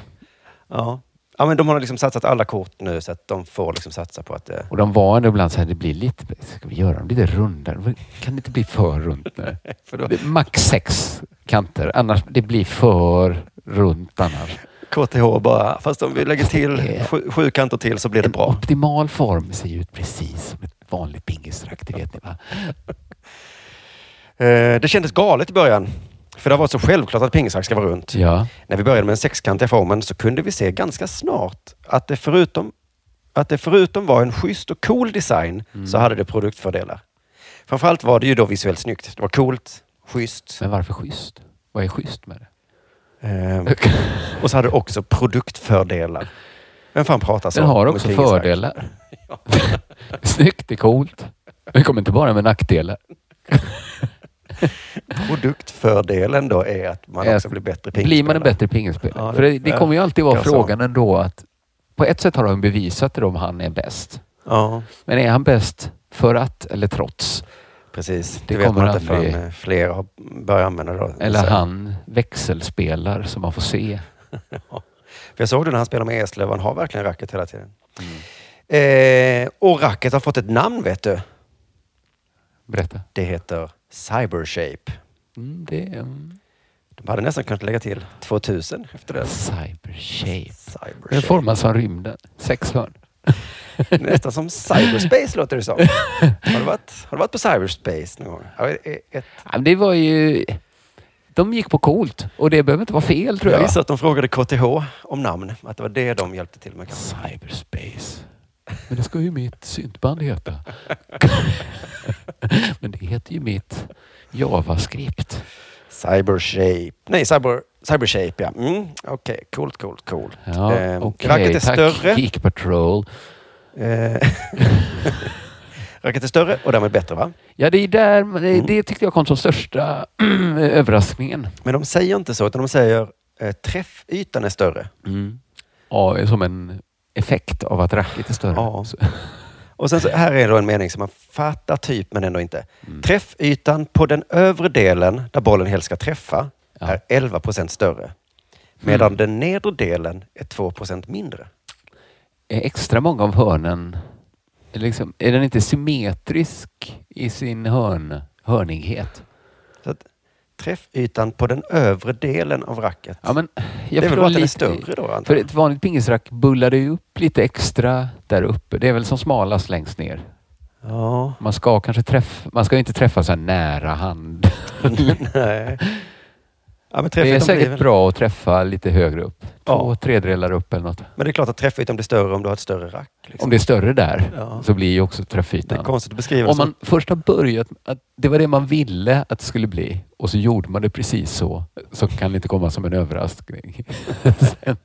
Speaker 1: Ja. ja, men de har liksom satsat alla kort nu så att de får liksom satsa på att det...
Speaker 2: Och de var ändå ibland så här, det blir lite, ska vi göra dem lite rundare? Kan det inte bli för
Speaker 1: *laughs*
Speaker 2: runt nu?
Speaker 1: *laughs* För då,
Speaker 2: Det är Max sex kanter, annars det blir för runt annars.
Speaker 1: KTH bara, fast om vi lägger *laughs* till sju, sju kanter till så blir det
Speaker 2: En
Speaker 1: bra.
Speaker 2: optimal form ser ju ut precis som ett vanligt pingisrack, det vet ni va?
Speaker 1: Eh, Det kändes galet i början. För det har varit så självklart att pingisrack ska vara runt.
Speaker 2: Ja.
Speaker 1: När vi började med den sexkantiga formen så kunde vi se ganska snart att det förutom, att det förutom var en schysst och cool design
Speaker 2: Mm.
Speaker 1: så hade det produktfördelar. Framförallt var det ju då visuellt snyggt. Det var coolt, schysst.
Speaker 2: Men varför schysst? Vad är schysst med det?
Speaker 1: Ehm, och så hade det också produktfördelar. Vem fan pratar så?
Speaker 2: Den har
Speaker 1: om *laughs*
Speaker 2: också
Speaker 1: ett pingisrack?
Speaker 2: fördelar. *laughs* Snyggt, det är coolt.
Speaker 6: Vi kommer inte bara med nackdelar.
Speaker 1: Produktfördelen då är att man
Speaker 2: Är
Speaker 1: också
Speaker 2: att
Speaker 1: blir bättre
Speaker 2: Blir man en
Speaker 1: pingisspelare.
Speaker 2: bättre pingisspelare?
Speaker 1: Ja,
Speaker 2: För det, det
Speaker 1: ja.
Speaker 2: kommer ju alltid vara
Speaker 1: Jag sa.
Speaker 2: frågan ändå att på ett sätt har han bevisat det om han är bäst.
Speaker 1: Ja,
Speaker 2: Men är han bäst för att eller trots?
Speaker 1: precis. Det,
Speaker 2: Det
Speaker 1: vet man
Speaker 2: kommer
Speaker 1: inte
Speaker 2: aldrig-
Speaker 1: förrän eh, fler har börjat använda det. då.
Speaker 2: Eller
Speaker 1: Så-
Speaker 2: han växelspelar som man får se.
Speaker 1: För jag såg det när han spelade med Eslöv, han har verkligen racket hela tiden. Eh, och racket har fått ett namn vet du.
Speaker 2: Berätta.
Speaker 1: Det heter Cybershape.
Speaker 2: Mm, det är en
Speaker 1: De hade nästan kunnat lägga till 2000 efter det.
Speaker 2: cybershape. Den
Speaker 1: Cybershape.
Speaker 2: formas som rymden. Sex hörn.
Speaker 1: *laughs* Nästan som cyberspace låter det som. Har du varit, har du varit på cyberspace någon gång? Ja, ett- ett-
Speaker 2: Ja, men Det var ju... De gick på coolt och det behöver inte vara fel tror
Speaker 1: Jag
Speaker 2: jag.
Speaker 1: gissar att de frågade KTH om namn. Att det var det de hjälpte till med. kanske.
Speaker 2: Cyberspace. Men det ska ju mitt syntband heta. *laughs* Men det heter ju mitt Javascript.
Speaker 1: Cybershape. Nej, cyber, cybershape ja. Mm, Okej, coolt, coolt, coolt.
Speaker 2: Ja,
Speaker 1: Ehm,
Speaker 2: okej.
Speaker 1: Racket är
Speaker 2: Tack,
Speaker 1: större.
Speaker 2: Geek Patrol.
Speaker 1: Eh, *laughs* Racket är större och därmed bättre va?
Speaker 2: Ja, det är där, men
Speaker 1: Mm.
Speaker 2: det, det tyckte jag kom som största *clears throat* överraskningen.
Speaker 1: Men de säger inte så, utan de säger eh, träffytan är större.
Speaker 2: Ja, som en effekt av att racket är större.
Speaker 1: Ja.
Speaker 2: Så-
Speaker 1: Och sen så här är då en mening som man fattar typ, men ändå inte.
Speaker 2: Mm.
Speaker 1: Träffytan på den övre delen, där bollen helst ska träffa,
Speaker 2: Ja. Mm.
Speaker 1: är 11 procent större. Medan den nedre delen är 2 procent mindre.
Speaker 2: Är extra många av hörnen, är liksom, är den inte symmetrisk i sin hörn, hörnighet?
Speaker 1: Så att, träffytan på den övre delen av racket.
Speaker 2: Ja, men jag
Speaker 1: det är väl
Speaker 2: förstår
Speaker 1: bara att den är
Speaker 2: lite-
Speaker 1: större då? antar
Speaker 2: För
Speaker 1: jag.
Speaker 2: ett vanligt pingisrack bullar det ju upp lite extra där uppe. Det är väl som smalast längst ner.
Speaker 1: Ja,
Speaker 2: Man ska kanske träffa, man ska ju inte träffa så här nära hand. *laughs*
Speaker 1: nej. Ja, men
Speaker 2: Det är
Speaker 1: träffytan blir
Speaker 2: säkert
Speaker 1: väl-
Speaker 2: bra att träffa lite högre upp. Två
Speaker 1: Ja.
Speaker 2: tredjedelar upp eller något.
Speaker 1: Men det är klart att träffytan blir större om du har ett större rack. liksom.
Speaker 2: Om det är större där
Speaker 1: Ja.
Speaker 2: så blir ju också
Speaker 1: det är
Speaker 2: träffytan.
Speaker 1: konstigt att beskriva det
Speaker 2: Om
Speaker 1: som.
Speaker 2: man först har börjat, att det var det man ville att det skulle bli och så gjorde man det precis så, så kan det inte komma som en överraskning. *laughs* Sen-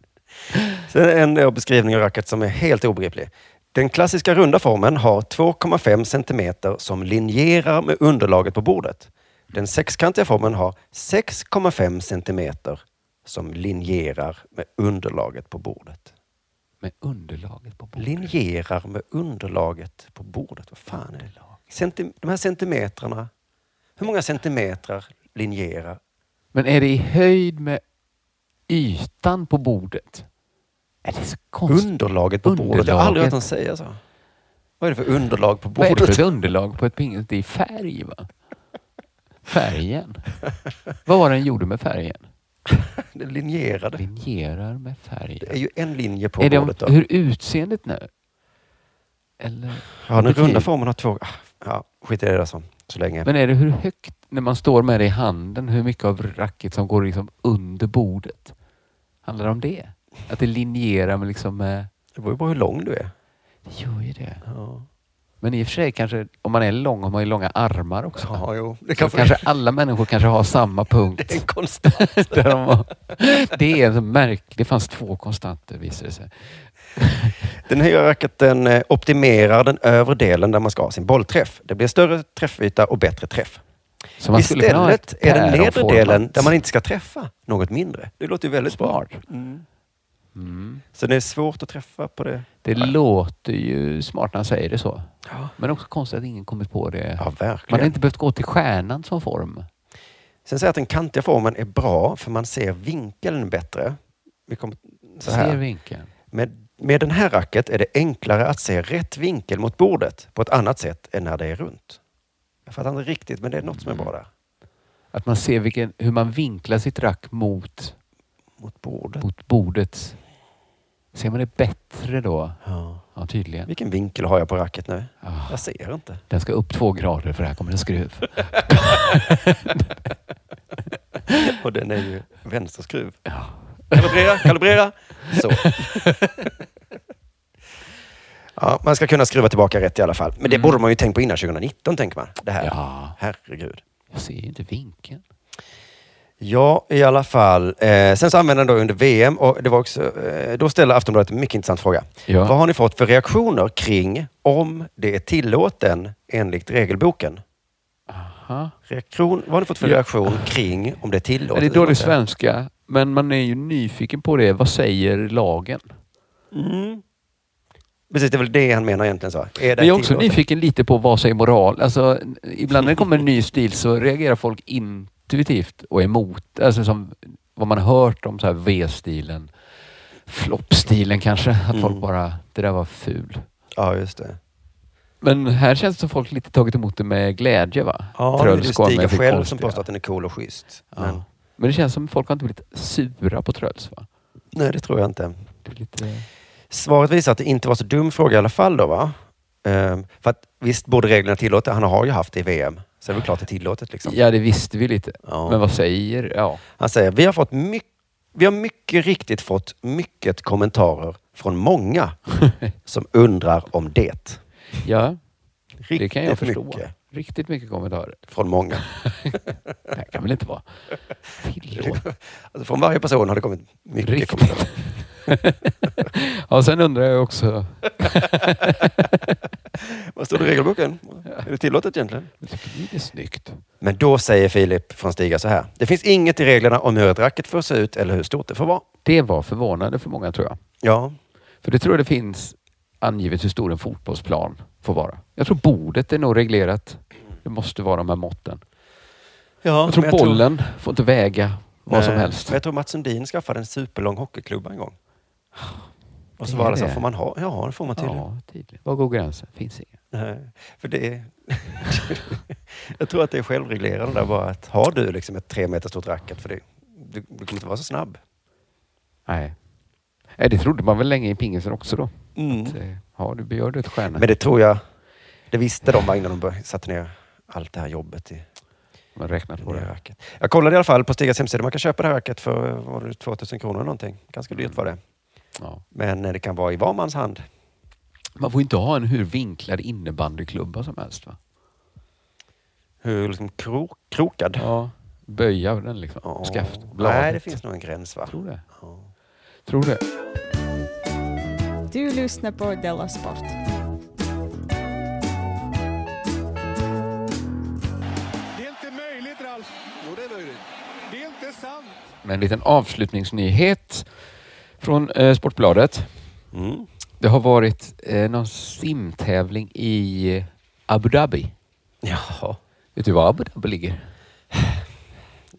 Speaker 1: Sen en då beskrivning av racket som är helt obegriplig. Den klassiska runda formen har 2,5 centimeter som linjerar med underlaget på bordet. Den sexkantiga formen har 6,5 centimeter som linjerar med underlaget på bordet.
Speaker 2: Med underlaget på bordet.
Speaker 1: Linjerar med underlaget på bordet. Vad fan är det? Centi- de här centimetrarna. Hur många centimetrar linjerar?
Speaker 2: Men är det i höjd med ytan på bordet? Är det så konstigt?
Speaker 1: Underlaget på bordet. Jag har aldrig hört
Speaker 2: Underlaget.
Speaker 1: någon säga så. Vad är det för underlag på
Speaker 2: Vad är det för ett
Speaker 1: bordet?
Speaker 2: underlag på ett pingis? Det är färg va? Färgen. Vad var det den gjorde med färgen?
Speaker 1: Det linjerade.
Speaker 2: Linjerar med färgen.
Speaker 1: Det är ju en linje på
Speaker 2: Är det om,
Speaker 1: bordet. Då.
Speaker 2: hur utseendet nu? Eller?
Speaker 1: ja, den
Speaker 2: betyder-
Speaker 1: runda formen har två... ah, Ja, skit i det där så, så länge.
Speaker 2: Men är det hur högt, när man står med det i handen, hur mycket av racket som går liksom under bordet? Handlar det om det? Att det linjerar med liksom... eh,
Speaker 1: det beror ju på hur lång du är.
Speaker 2: Det gör ju det.
Speaker 1: Ja,
Speaker 2: Men i och för sig kanske, om man är lång har man ju långa armar också.
Speaker 1: ja jo. Det
Speaker 2: Så
Speaker 1: kanske, *laughs*
Speaker 2: kanske alla människor kanske har samma *laughs*
Speaker 1: det är
Speaker 2: punkt.
Speaker 1: en konstant.
Speaker 2: där de har. Det är så märkligt. Det fanns två konstanter visade det sig.
Speaker 1: Den nya racketen eh, optimerar den övre delen där man ska ha sin bollträff. Det blir större träffyta och bättre träff.
Speaker 2: Så man skulle kunna ha
Speaker 1: Istället
Speaker 2: ett
Speaker 1: är den nedre
Speaker 2: päronformat-
Speaker 1: delen där man inte ska träffa något mindre. Det låter ju väldigt bra.
Speaker 2: Smart. Mm.
Speaker 1: Så det är svårt att träffa på det.
Speaker 2: Det låter ju smart när han säger det så.
Speaker 1: Ja,
Speaker 2: Men också konstigt att ingen kommit på det. Man har
Speaker 1: verkligen.
Speaker 2: inte behövt gå till stjärnan som form.
Speaker 1: Sen säger jag att den kantiga formen är bra för man ser vinkeln bättre. Vi kommer så här.
Speaker 2: Ser vinkeln.
Speaker 1: Med, med den här racket är det enklare att se rätt vinkel mot bordet på ett annat sätt än när det är runt. Jag fattar inte riktigt, men det är något som är bra där.
Speaker 2: Att man ser vilken, hur man vinklar sitt rack mot,
Speaker 1: Mot bordet.
Speaker 2: mot bordet. Ser man det bättre då?
Speaker 1: Ja.
Speaker 2: Ja, tydligen.
Speaker 1: Vilken vinkel har jag på racket nu?
Speaker 2: Ah.
Speaker 1: Jag ser inte. *laughs*
Speaker 2: Den ska upp två grader för här kommer en skruv.
Speaker 1: Och den är ju vänsterskruv. Kalibrera, kalibrera! Så. Ja, man ska kunna skruva tillbaka rätt i alla fall. Men det borde man ju tänkt på innan 2019, tänker man. Det här.
Speaker 2: Ja,
Speaker 1: Herregud.
Speaker 2: jag ser ju inte vinkeln.
Speaker 1: Ja, i alla fall. Eh, sen så använde han då under VM och det var också, eh, då ställde Aftonbladet en mycket intressant fråga.
Speaker 7: Ja.
Speaker 1: Vad har ni fått för reaktioner kring om det är tillåten enligt regelboken?
Speaker 2: Aha.
Speaker 1: Reaktion, vad har ni fått för
Speaker 2: Ja.
Speaker 1: reaktion kring om det är
Speaker 2: Men
Speaker 1: tillåtet?
Speaker 2: det är
Speaker 1: eller
Speaker 2: dålig
Speaker 1: inte?
Speaker 2: svenska, men man är ju nyfiken på det. Vad säger lagen?
Speaker 1: Mm. Precis, det är väl det han menar egentligen. Så. Är det
Speaker 2: Men jag är också
Speaker 1: tillåtet?
Speaker 2: nyfiken lite på vad säger moral? Alltså, n- ibland när det kommer en ny stil så reagerar folk intuitivt och emot. Alltså som vad man har hört om så här V-stilen, floppstilen kanske. Att folk
Speaker 1: Mm.
Speaker 2: bara, det där var ful.
Speaker 1: Ja, just det.
Speaker 2: Men här känns det som folk lite tagit emot det med glädje va?
Speaker 1: Ja,
Speaker 2: Tröll
Speaker 1: det är
Speaker 2: Skånberg
Speaker 1: Stiga
Speaker 2: fick
Speaker 1: själv som
Speaker 2: konstiga.
Speaker 1: påstår att den är cool och schysst.
Speaker 2: Ja.
Speaker 1: Men,
Speaker 2: Men det känns som folk har inte blivit sura på Tröls va?
Speaker 1: nej, det tror jag inte.
Speaker 2: Det är lite...
Speaker 1: Svaret visar att det inte var så dum fråga i alla fall då va? Ehm, för att visst borde reglerna tillåta, han har ju haft det i VM. Så det är väl klart det är tillåtet liksom.
Speaker 2: Ja, det visste vi lite.
Speaker 1: Ja.
Speaker 2: Men vad säger... Ja.
Speaker 1: Han säger, vi har, fått mycket, vi har mycket riktigt fått mycket kommentarer från
Speaker 2: *laughs*
Speaker 1: många som undrar om det.
Speaker 2: ja,
Speaker 1: Riktigt
Speaker 2: det kan jag förstå.
Speaker 1: mycket
Speaker 2: Riktigt mycket kommentarer.
Speaker 1: från många.
Speaker 2: Det här kan väl inte vara tillåtet?
Speaker 1: Alltså från varje person har det kommit mycket
Speaker 2: Riktigt.
Speaker 1: kommentarer.
Speaker 2: *laughs* Ja, sen undrar jag också...
Speaker 1: Vad står det i regelboken? Är det tillåtet egentligen?
Speaker 2: Jag tycker det är snyggt.
Speaker 1: Men då säger Filip från Stiga så här. Det finns inget i reglerna om hur ett racket får se ut eller hur stort det får vara.
Speaker 2: Det var förvånande för många tror jag.
Speaker 1: Ja,
Speaker 2: För det tror jag det finns angivet hur stor en fotbollsplan får vara. Jag tror bordet är nog reglerat. Det måste vara de här måtten.
Speaker 1: Ja,
Speaker 2: Jag tror
Speaker 1: men
Speaker 2: bollen får inte väga vad som
Speaker 1: Nej,
Speaker 2: helst.
Speaker 1: Men Eh, jag tror Mats Sundin skaffade en superlång hockeyklubba en gång. Och så
Speaker 2: Ah, Det
Speaker 1: var
Speaker 2: är
Speaker 1: det så här,
Speaker 2: det.
Speaker 1: får man ha? Ja, det får man tydligen.
Speaker 2: Ja, tydligt. Var går gränsen? Finns inga.
Speaker 1: Nej, För det är... *laughs* jag tror att det är självreglerande där bara att har du liksom ett tre meter stort racket, för det, du, du kommer inte vara så snabb.
Speaker 2: Nej. Nej, det trodde man väl länge i pingisen också då.
Speaker 1: Mm.
Speaker 2: Att, eh, Ja, du gör du ett stjärna.
Speaker 1: Men det tror jag, det visste de bara innan de började- satte ner allt det här jobbet i
Speaker 2: Man räknar
Speaker 1: det
Speaker 2: på
Speaker 1: nya
Speaker 2: det.
Speaker 1: racket. Jag kollade i alla fall på Stigas hemsida, man kan köpa det här racket för vad var det, 2000 kronor eller någonting. Ganska dyrt var det.
Speaker 2: Ja.
Speaker 1: Men eh, det kan vara i var mans hand.
Speaker 2: Man får inte ha en hur vinklad innebandyklubba som helst va?
Speaker 1: Hur liksom kro, krokad.
Speaker 2: Ja. Böja den liksom.
Speaker 1: Ja.
Speaker 2: Skaft, bladet.
Speaker 1: Nej, det finns nog en gräns va?
Speaker 2: Tror det.
Speaker 1: Ja.
Speaker 2: Tror det.
Speaker 5: Du lyssnar på Della Sport.
Speaker 3: Det är inte möjligt, Ralf. Jo, det är möjligt. Det är inte sant.
Speaker 2: Med en liten avslutningsnyhet från eh, Sportbladet.
Speaker 1: Mm.
Speaker 2: Det har varit eh, någon simtävling i Abu Dhabi.
Speaker 1: Jaha,
Speaker 2: Vet du var Abu Dhabi ligger?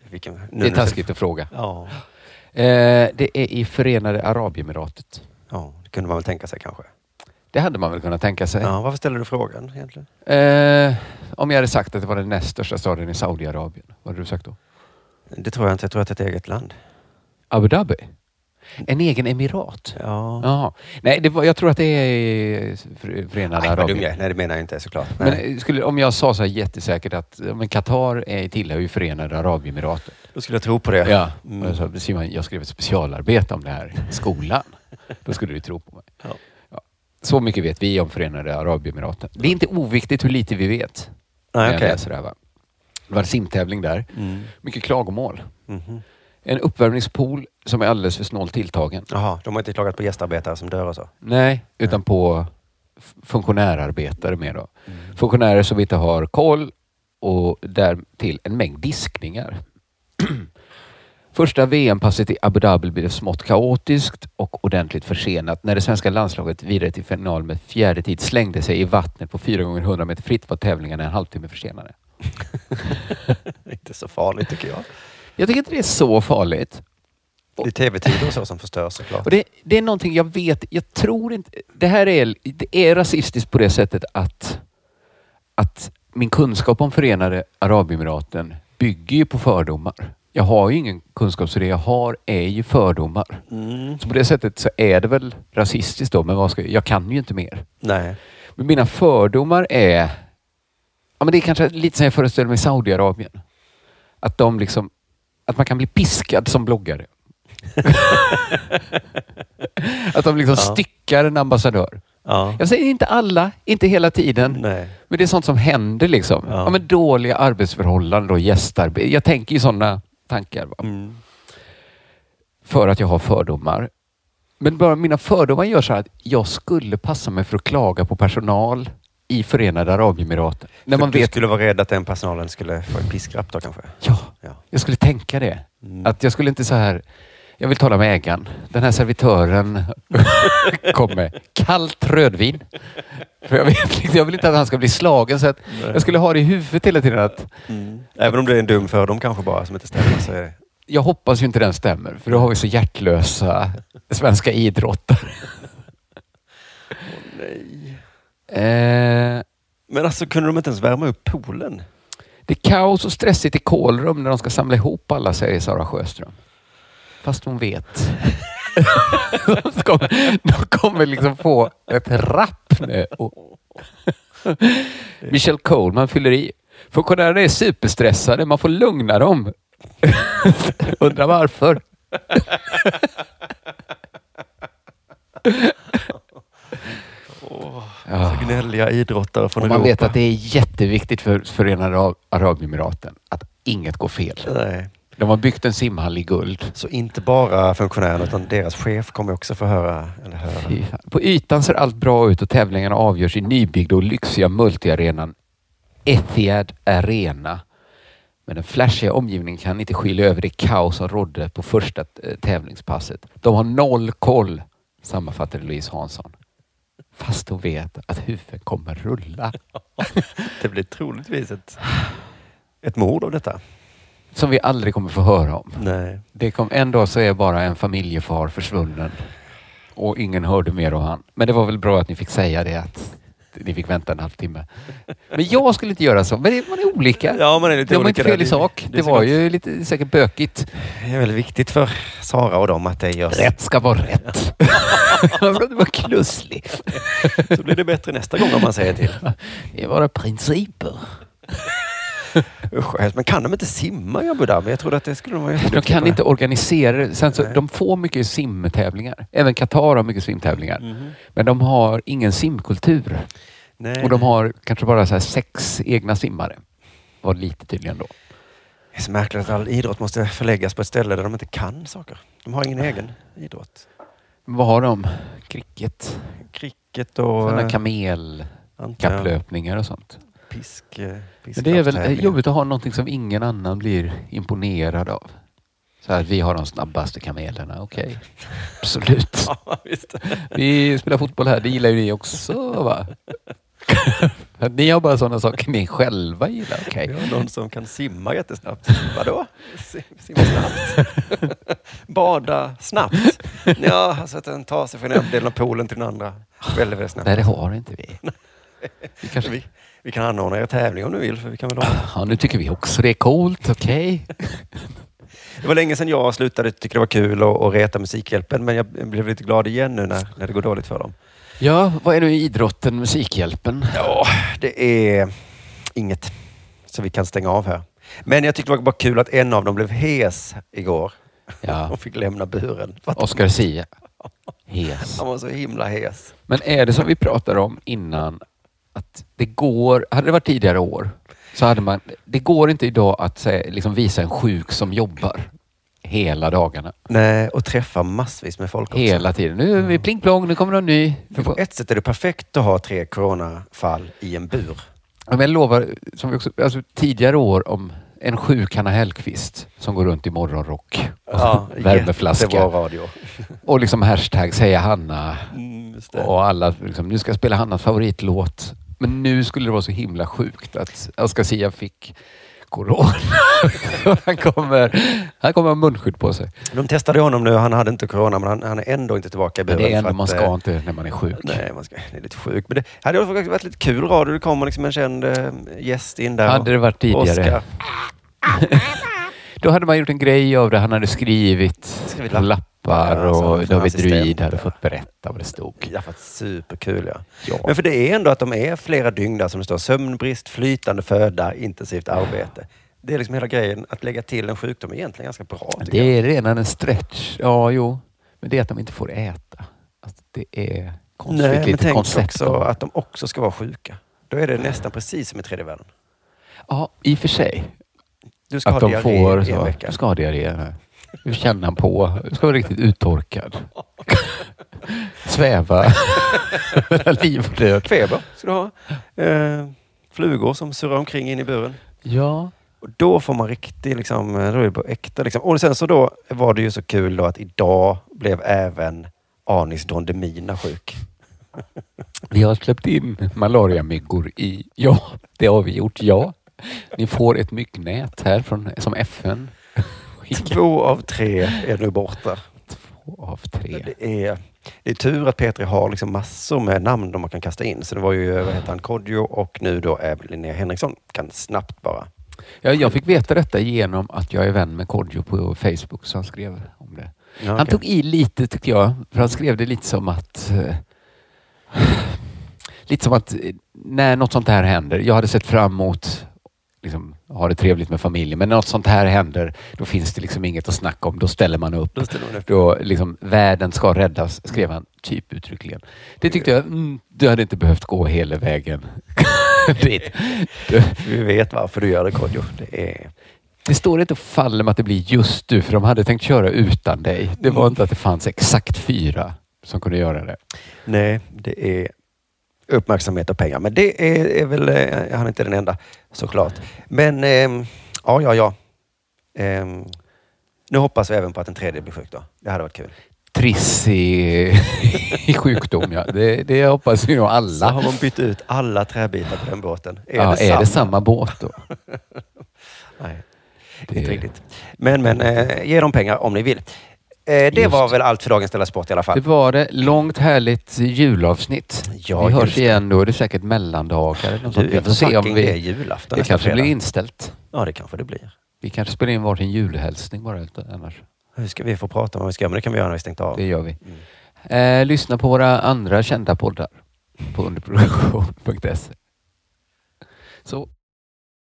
Speaker 1: vilken... Nu
Speaker 2: Det är taskigt att fråga.
Speaker 1: Ja.
Speaker 2: Eh, det är i Förenade Arabemiratet.
Speaker 1: ja, det kunde man väl tänka sig kanske.
Speaker 2: Det hade man väl kunnat tänka sig.
Speaker 1: Ja, varför ställer du frågan egentligen?
Speaker 2: Eh, om jag hade sagt att det var den näst största staden i Saudiarabien, vad hade du sagt då?
Speaker 1: Det tror jag inte. Jag tror att det är ett eget land.
Speaker 2: Abu Dhabi? En egen emirat?
Speaker 1: Ja.
Speaker 2: Jaha. Nej, det var, jag tror att det är Fre- Förenade
Speaker 1: Nej, vad dum jag
Speaker 2: Arabien.
Speaker 1: är. Nej, det menar jag inte såklart.
Speaker 2: Men
Speaker 1: Nej.
Speaker 2: eh, skulle, om jag sa så här jättesäkert att ja, men Qatar är, tillhör ju Förenade Arabemiraten.
Speaker 1: Då skulle jag tro på det.
Speaker 2: Ja.
Speaker 1: Mm.
Speaker 2: Och jag sa, Simon, jag skrev ett specialarbete om det här
Speaker 1: *laughs*
Speaker 2: i skolan. Då skulle du tro på mig.
Speaker 1: Ja.
Speaker 2: Ja. Så mycket vet vi om Förenade Arabemiraten. Det är inte oviktigt hur lite vi vet. när
Speaker 1: Nej,
Speaker 2: jag
Speaker 1: okej.
Speaker 2: läser det, här, va? det var en simtävling där.
Speaker 1: Mm.
Speaker 2: Mycket klagomål.
Speaker 1: Mhm.
Speaker 2: En uppvärmningspool som är alldeles för snålt tilltagen.
Speaker 1: Jaha, de har inte klagat på gästarbetare som dör och så? *laughs*
Speaker 2: Nej, utan på f- funktionärarbetare mer då. Funktionärer som inte har koll och därtill en mängd diskningar. *clears throat* Första VM-passet i Abu Dhabi blev smått kaotiskt och ordentligt försenat när det svenska landslaget vidare till final med fjärde tid slängde sig i vattnet på 4 gånger 100 meter fritt var tävlingarna en halvtimme försenade.
Speaker 1: inte så farligt tycker jag.
Speaker 2: Jag tycker inte det är så farligt.
Speaker 1: Det är tv-tider och så som förstörs såklart.
Speaker 2: Och det, det är någonting jag vet, jag tror inte... Det här är, det är rasistiskt på det sättet att, att min kunskap om Förenade Arabemiraten bygger ju på fördomar. Jag har ju ingen kunskap så det jag har är ju fördomar.
Speaker 1: Mm.
Speaker 2: Så på det sättet så är det väl rasistiskt då, men vad ska jag, jag kan ju inte mer.
Speaker 1: Nej.
Speaker 2: Men mina fördomar är... Ja, men det är kanske lite som jag föreställer mig Saudiarabien. Att de liksom... Att man kan bli piskad som bloggare. *laughs* att de liksom
Speaker 1: Ja.
Speaker 2: styckar en ambassadör.
Speaker 1: Ja.
Speaker 2: Jag säger inte alla, inte hela tiden.
Speaker 1: Nej.
Speaker 2: Men det är sånt som händer liksom. Ja.
Speaker 1: Ja.
Speaker 2: men dåliga arbetsförhållanden och gästarbete. Jag tänker ju sådana tankar. Va?
Speaker 1: Mm.
Speaker 2: För att jag har fördomar. Men bara mina fördomar gör så här att jag skulle passa mig för att klaga på personal i Förenade Arabemiraten. När
Speaker 1: För
Speaker 2: man
Speaker 1: du
Speaker 2: vet...
Speaker 1: skulle vara rädd att den personalen skulle få en piskrapp då kanske?
Speaker 2: Ja,
Speaker 1: Ja.
Speaker 2: jag skulle tänka det.
Speaker 1: Mm.
Speaker 2: Att jag skulle inte så här... Jag vill tala med ägaren. Den här servitören *laughs* kom med kallt rödvin. För jag, vet, inte- jag vill inte att han ska bli slagen. Så att jag skulle ha det i huvudet hela tiden att
Speaker 1: Mm. Även om det är en dum fördom kanske bara som inte stämmer så är det...
Speaker 2: jag hoppas ju inte den stämmer, för då har vi så hjärtlösa svenska idrottare. Eh,
Speaker 1: Men alltså kunde de inte ens värma upp poolen?
Speaker 2: det är kaos och stressigt i Kolrum när de ska samla ihop alla, säger Sara Sjöström. Fast hon vet. de, ska, de kommer liksom få ett rapp nu. Och Michelle Coleman fyller i. Funktionärerna är superstressade. Man får lugna dem. Undrar varför.
Speaker 1: Så gnälliga idrottare från
Speaker 2: Och Ah. man vet
Speaker 1: Europa.
Speaker 2: att det är jätteviktigt för Förenade Arab- Arabemiraten att inget går fel.
Speaker 1: Nej.
Speaker 2: De har byggt en simhall i guld.
Speaker 1: Så inte bara funktionärerna utan deras chef kommer också få höra. Eller höra.
Speaker 2: Fy fan. På ytan ser allt bra ut och tävlingarna avgörs i nybyggda och lyxiga multiarenan Etihad Arena. Men den flashiga omgivningen kan inte skilja över det kaos som rådde på första eh, tävlingspasset. De har noll koll, sammanfattade Louise Hansson. Fast hon vet att huvudet kommer rulla.
Speaker 1: Det blir troligtvis ett, ett mord av detta.
Speaker 2: Som vi aldrig kommer få höra om.
Speaker 1: Nej.
Speaker 2: Det kom en dag så är bara en familjefar försvunnen och ingen hörde mer av han. Men det var väl bra att ni fick säga det att ni fick vänta en halvtimme. Men jag skulle inte göra så. Men det, man är olika.
Speaker 1: Ja, man är lite
Speaker 2: de har
Speaker 1: olika
Speaker 2: inte fel
Speaker 1: där.
Speaker 2: i sak.
Speaker 1: Det
Speaker 2: Det,
Speaker 1: är så
Speaker 2: var
Speaker 1: gott.
Speaker 2: ju lite säkert bökigt.
Speaker 1: Det är väldigt viktigt för Sara och dem att det görs.
Speaker 2: Rätt ska vara rätt. *laughs* det var klusslig.
Speaker 1: Så blir det bättre nästa gång om man säger till.
Speaker 2: Det är bara principer.
Speaker 1: Usch, vad hemskt. men kan de inte simma i Abu Dhabi? Jag trodde att det skulle de vara
Speaker 2: De
Speaker 1: jätteduktiga
Speaker 2: kan
Speaker 1: på.
Speaker 2: inte organisera det. Sen så,
Speaker 1: Nej.
Speaker 2: de får mycket simtävlingar. Även Qatar har mycket simtävlingar. Men de har ingen simkultur.
Speaker 1: Mhm. Nej.
Speaker 2: Och de har kanske bara så här sex egna simmare. Var lite tydligen då.
Speaker 1: Det är så märkligt att all idrott måste förläggas på ett ställe där de inte kan saker. De har ingen egen idrott.
Speaker 2: Men Vad har de? Cricket?
Speaker 1: Cricket och
Speaker 2: Sådana
Speaker 1: eh,
Speaker 2: kamelkapplöpningar
Speaker 1: antar jag,
Speaker 2: och sånt.
Speaker 1: pisk, eh,
Speaker 2: Men det är väl eh,
Speaker 1: pisklappstävlingar.
Speaker 2: jobbigt att ha någonting som ingen annan blir imponerad av. Så här, vi har de snabbaste kamelerna. Okej. *laughs*
Speaker 1: *laughs*
Speaker 2: Absolut.
Speaker 1: Ja, visst.
Speaker 2: Vi spelar fotboll här. Det gillar ju ni också va? *laughs* ni har bara sådana saker ni själva gillar. Okej.
Speaker 1: Vi har någon som kan simma jättesnabbt. Vadå? Sim- Simma snabbt? *laughs* Bada snabbt? Ja, alltså att den tar sig från ena delen av poolen till den andra väldigt, väldigt snabbt.
Speaker 2: Nej, det har inte vi. vi kanske
Speaker 1: vi, vi kan anordna er tävling om du vill. För vi kan väl ha.
Speaker 2: Ja, nu tycker vi också det är coolt, okej?
Speaker 1: Det var länge sedan jag slutade tycka det var kul att att reta Musikhjälpen, men jag blev lite glad igen nu när, när det går dåligt för dem.
Speaker 2: Ja, vad är nu idrotten, Musikhjälpen?
Speaker 1: Ja, det är inget. Så vi kan stänga av här. Men jag tyckte det var bara kul att en av dem blev hes igår.
Speaker 2: Ja,
Speaker 1: Hon fick lämna buren. Fattar du?
Speaker 2: Oscar Sia. Hes.
Speaker 1: Han var så himla hes.
Speaker 2: Men är det som vi pratade om innan, att det går, hade det varit tidigare år, så hade man, det går inte idag att säga, liksom visa en sjuk som jobbar hela dagarna,
Speaker 1: Nej, och träffa massvis med folk också. Mm.
Speaker 2: hela tiden. Nu är vi pling plong, nu kommer någon ny.
Speaker 1: För på ett sätt är det perfekt att ha tre coronafall i en bur.
Speaker 2: Ja, Men jag lovar, som vi också, alltså, tidigare år om en sjuk Hanna Hellquist som går runt i morgonrock och
Speaker 1: Jättebra
Speaker 2: värmeflaska.
Speaker 1: radio.
Speaker 2: Och liksom hashtag säga Hanna
Speaker 1: Mm, just det.
Speaker 2: och alla liksom, nu ska jag spela Hannas favoritlåt. Men nu skulle det vara så himla sjukt att Oscar Sia fick corona. *laughs* han, kommer, han kommer ha munskydd på sig.
Speaker 1: De testade honom nu. Han hade inte corona, men han, han är ändå inte tillbaka i
Speaker 2: Men
Speaker 1: buren.
Speaker 2: det är ändå
Speaker 1: för
Speaker 2: man
Speaker 1: att,
Speaker 2: ska
Speaker 1: eh,
Speaker 2: inte när man är sjuk.
Speaker 1: Nej, man ska, det är lite sjukt. Men det hade ju faktiskt varit lite kul radio. Det kommer liksom en känd eh, gäst in där.
Speaker 2: Hade det varit tidigare.
Speaker 1: Oscar.
Speaker 2: Då hade man gjort en grej av det. Han hade skrivit
Speaker 1: Skrivit lapp-
Speaker 2: lappar
Speaker 1: Ja, som
Speaker 2: och
Speaker 1: en
Speaker 2: David
Speaker 1: assistent,
Speaker 2: Druid hade
Speaker 1: ja.
Speaker 2: fått berätta vad det stod.
Speaker 1: Det hade varit superkul ja.
Speaker 2: Ja.
Speaker 1: Men för det är ändå att de är flera dygn där som det står sömnbrist, flytande föda, intensivt arbete. Det är liksom hela grejen. Att lägga till en sjukdom är egentligen ganska bra. tycker jag.
Speaker 2: Det är redan en stretch. Ja, jo. Men det är att de inte får äta. Alltså, det är konstigt
Speaker 1: Nej, men
Speaker 2: lite
Speaker 1: tänk
Speaker 2: koncept.
Speaker 1: också att de också ska vara sjuka. Då är det nästan precis som i tredje världen.
Speaker 2: Ja, i och för sig.
Speaker 1: Du ska
Speaker 2: Att
Speaker 1: ha
Speaker 2: de
Speaker 1: diarré
Speaker 2: får
Speaker 1: i en
Speaker 2: så.
Speaker 1: vecka.
Speaker 2: Du ska ha diarré. nu. Du känner han på. Du ska vara
Speaker 1: *laughs*
Speaker 2: riktigt uttorkad. Sväva. *laughs* Mellan liv och död.
Speaker 1: Feber ska du ha. Eh, flugor som surrar omkring in i buren.
Speaker 2: Ja.
Speaker 1: Och då får man riktigt, liksom, då är det på äkta. Liksom. Och sen så då var det ju så kul då att idag blev även Anis Don Demina sjuk.
Speaker 2: Vi har släppt in malariamyggor i... Ja, det har vi gjort. Ja. Ni får ett myggnät här från, som FN skickar
Speaker 1: Två av tre är nu borta.
Speaker 2: av tre.
Speaker 1: Det är, det är tur att Petri har liksom massor med namn de man kan kasta in. Så det var ju, eh, vad heter han, Kodjo och nu då är Linnea Henriksson. Kan snabbt bara.
Speaker 2: Jag, jag fick veta detta genom att jag är vän med Kodjo på Facebook, så han skrev om det.
Speaker 1: Ja,
Speaker 2: Han
Speaker 1: okej.
Speaker 2: tog i lite tycker jag, för han skrev det lite som att... Eh, lite som att eh, när något sånt här händer, jag hade sett fram emot liksom, ha det trevligt med familjen, men när något sånt här händer, då finns det liksom inget att snacka om, då ställer man upp.
Speaker 1: Då ställer hon
Speaker 2: *laughs*
Speaker 1: upp.
Speaker 2: Då liksom, världen ska räddas, skrev han typ uttryckligen. Det tyckte jag, mm, du hade inte behövt gå hela vägen dit. Du,
Speaker 1: Vi vet varför du gör det Kodjo. Det är...
Speaker 2: det står inte och faller med att det blir just du, för de hade tänkt köra utan dig. Det var inte att det fanns exakt fyra som kunde göra det.
Speaker 1: Nej, det är uppmärksamhet och pengar. Men det är, är väl, eh, han är inte den enda såklart. Men ehm, ja, ja, ja. Ehm, nu hoppas vi även på att en tredje blir sjuk då. Det hade varit kul.
Speaker 2: Triss i, *laughs* i sjukdom, ja. Det, det hoppas vi nog
Speaker 1: Så har
Speaker 2: alla.
Speaker 1: man bytt ut alla träbitar på den båten. Är,
Speaker 2: ja,
Speaker 1: det, samma?
Speaker 2: är det samma båt då?
Speaker 1: Nej,
Speaker 2: Det-
Speaker 1: *laughs* inte riktigt. Men, men eh, ge dem pengar om ni vill. Eh, det
Speaker 2: Just.
Speaker 1: var väl allt för dagens Della Sport i alla
Speaker 2: Det
Speaker 1: fall.
Speaker 2: var det. Långt härligt julavsnitt.
Speaker 1: Ja,
Speaker 2: vi
Speaker 1: just
Speaker 2: hörs
Speaker 1: det.
Speaker 2: igen då. Det är säkert mellandagar eller något sånt. Vi
Speaker 1: jag
Speaker 2: får se om
Speaker 1: det är
Speaker 2: vi...
Speaker 1: julafton
Speaker 2: Det
Speaker 1: nästa
Speaker 2: kanske blir
Speaker 1: fredag.
Speaker 2: inställt.
Speaker 1: Ja, det kanske det blir.
Speaker 2: Vi kanske spelar in varsin julhälsning bara utan- annars.
Speaker 1: Hur ska vi få prata om vad vi ska göra? Men det kan vi göra när vi stängt av. Mm.
Speaker 2: Det gör vi. Eh, lyssna på våra andra kända poddar på underproduktion.se. Så.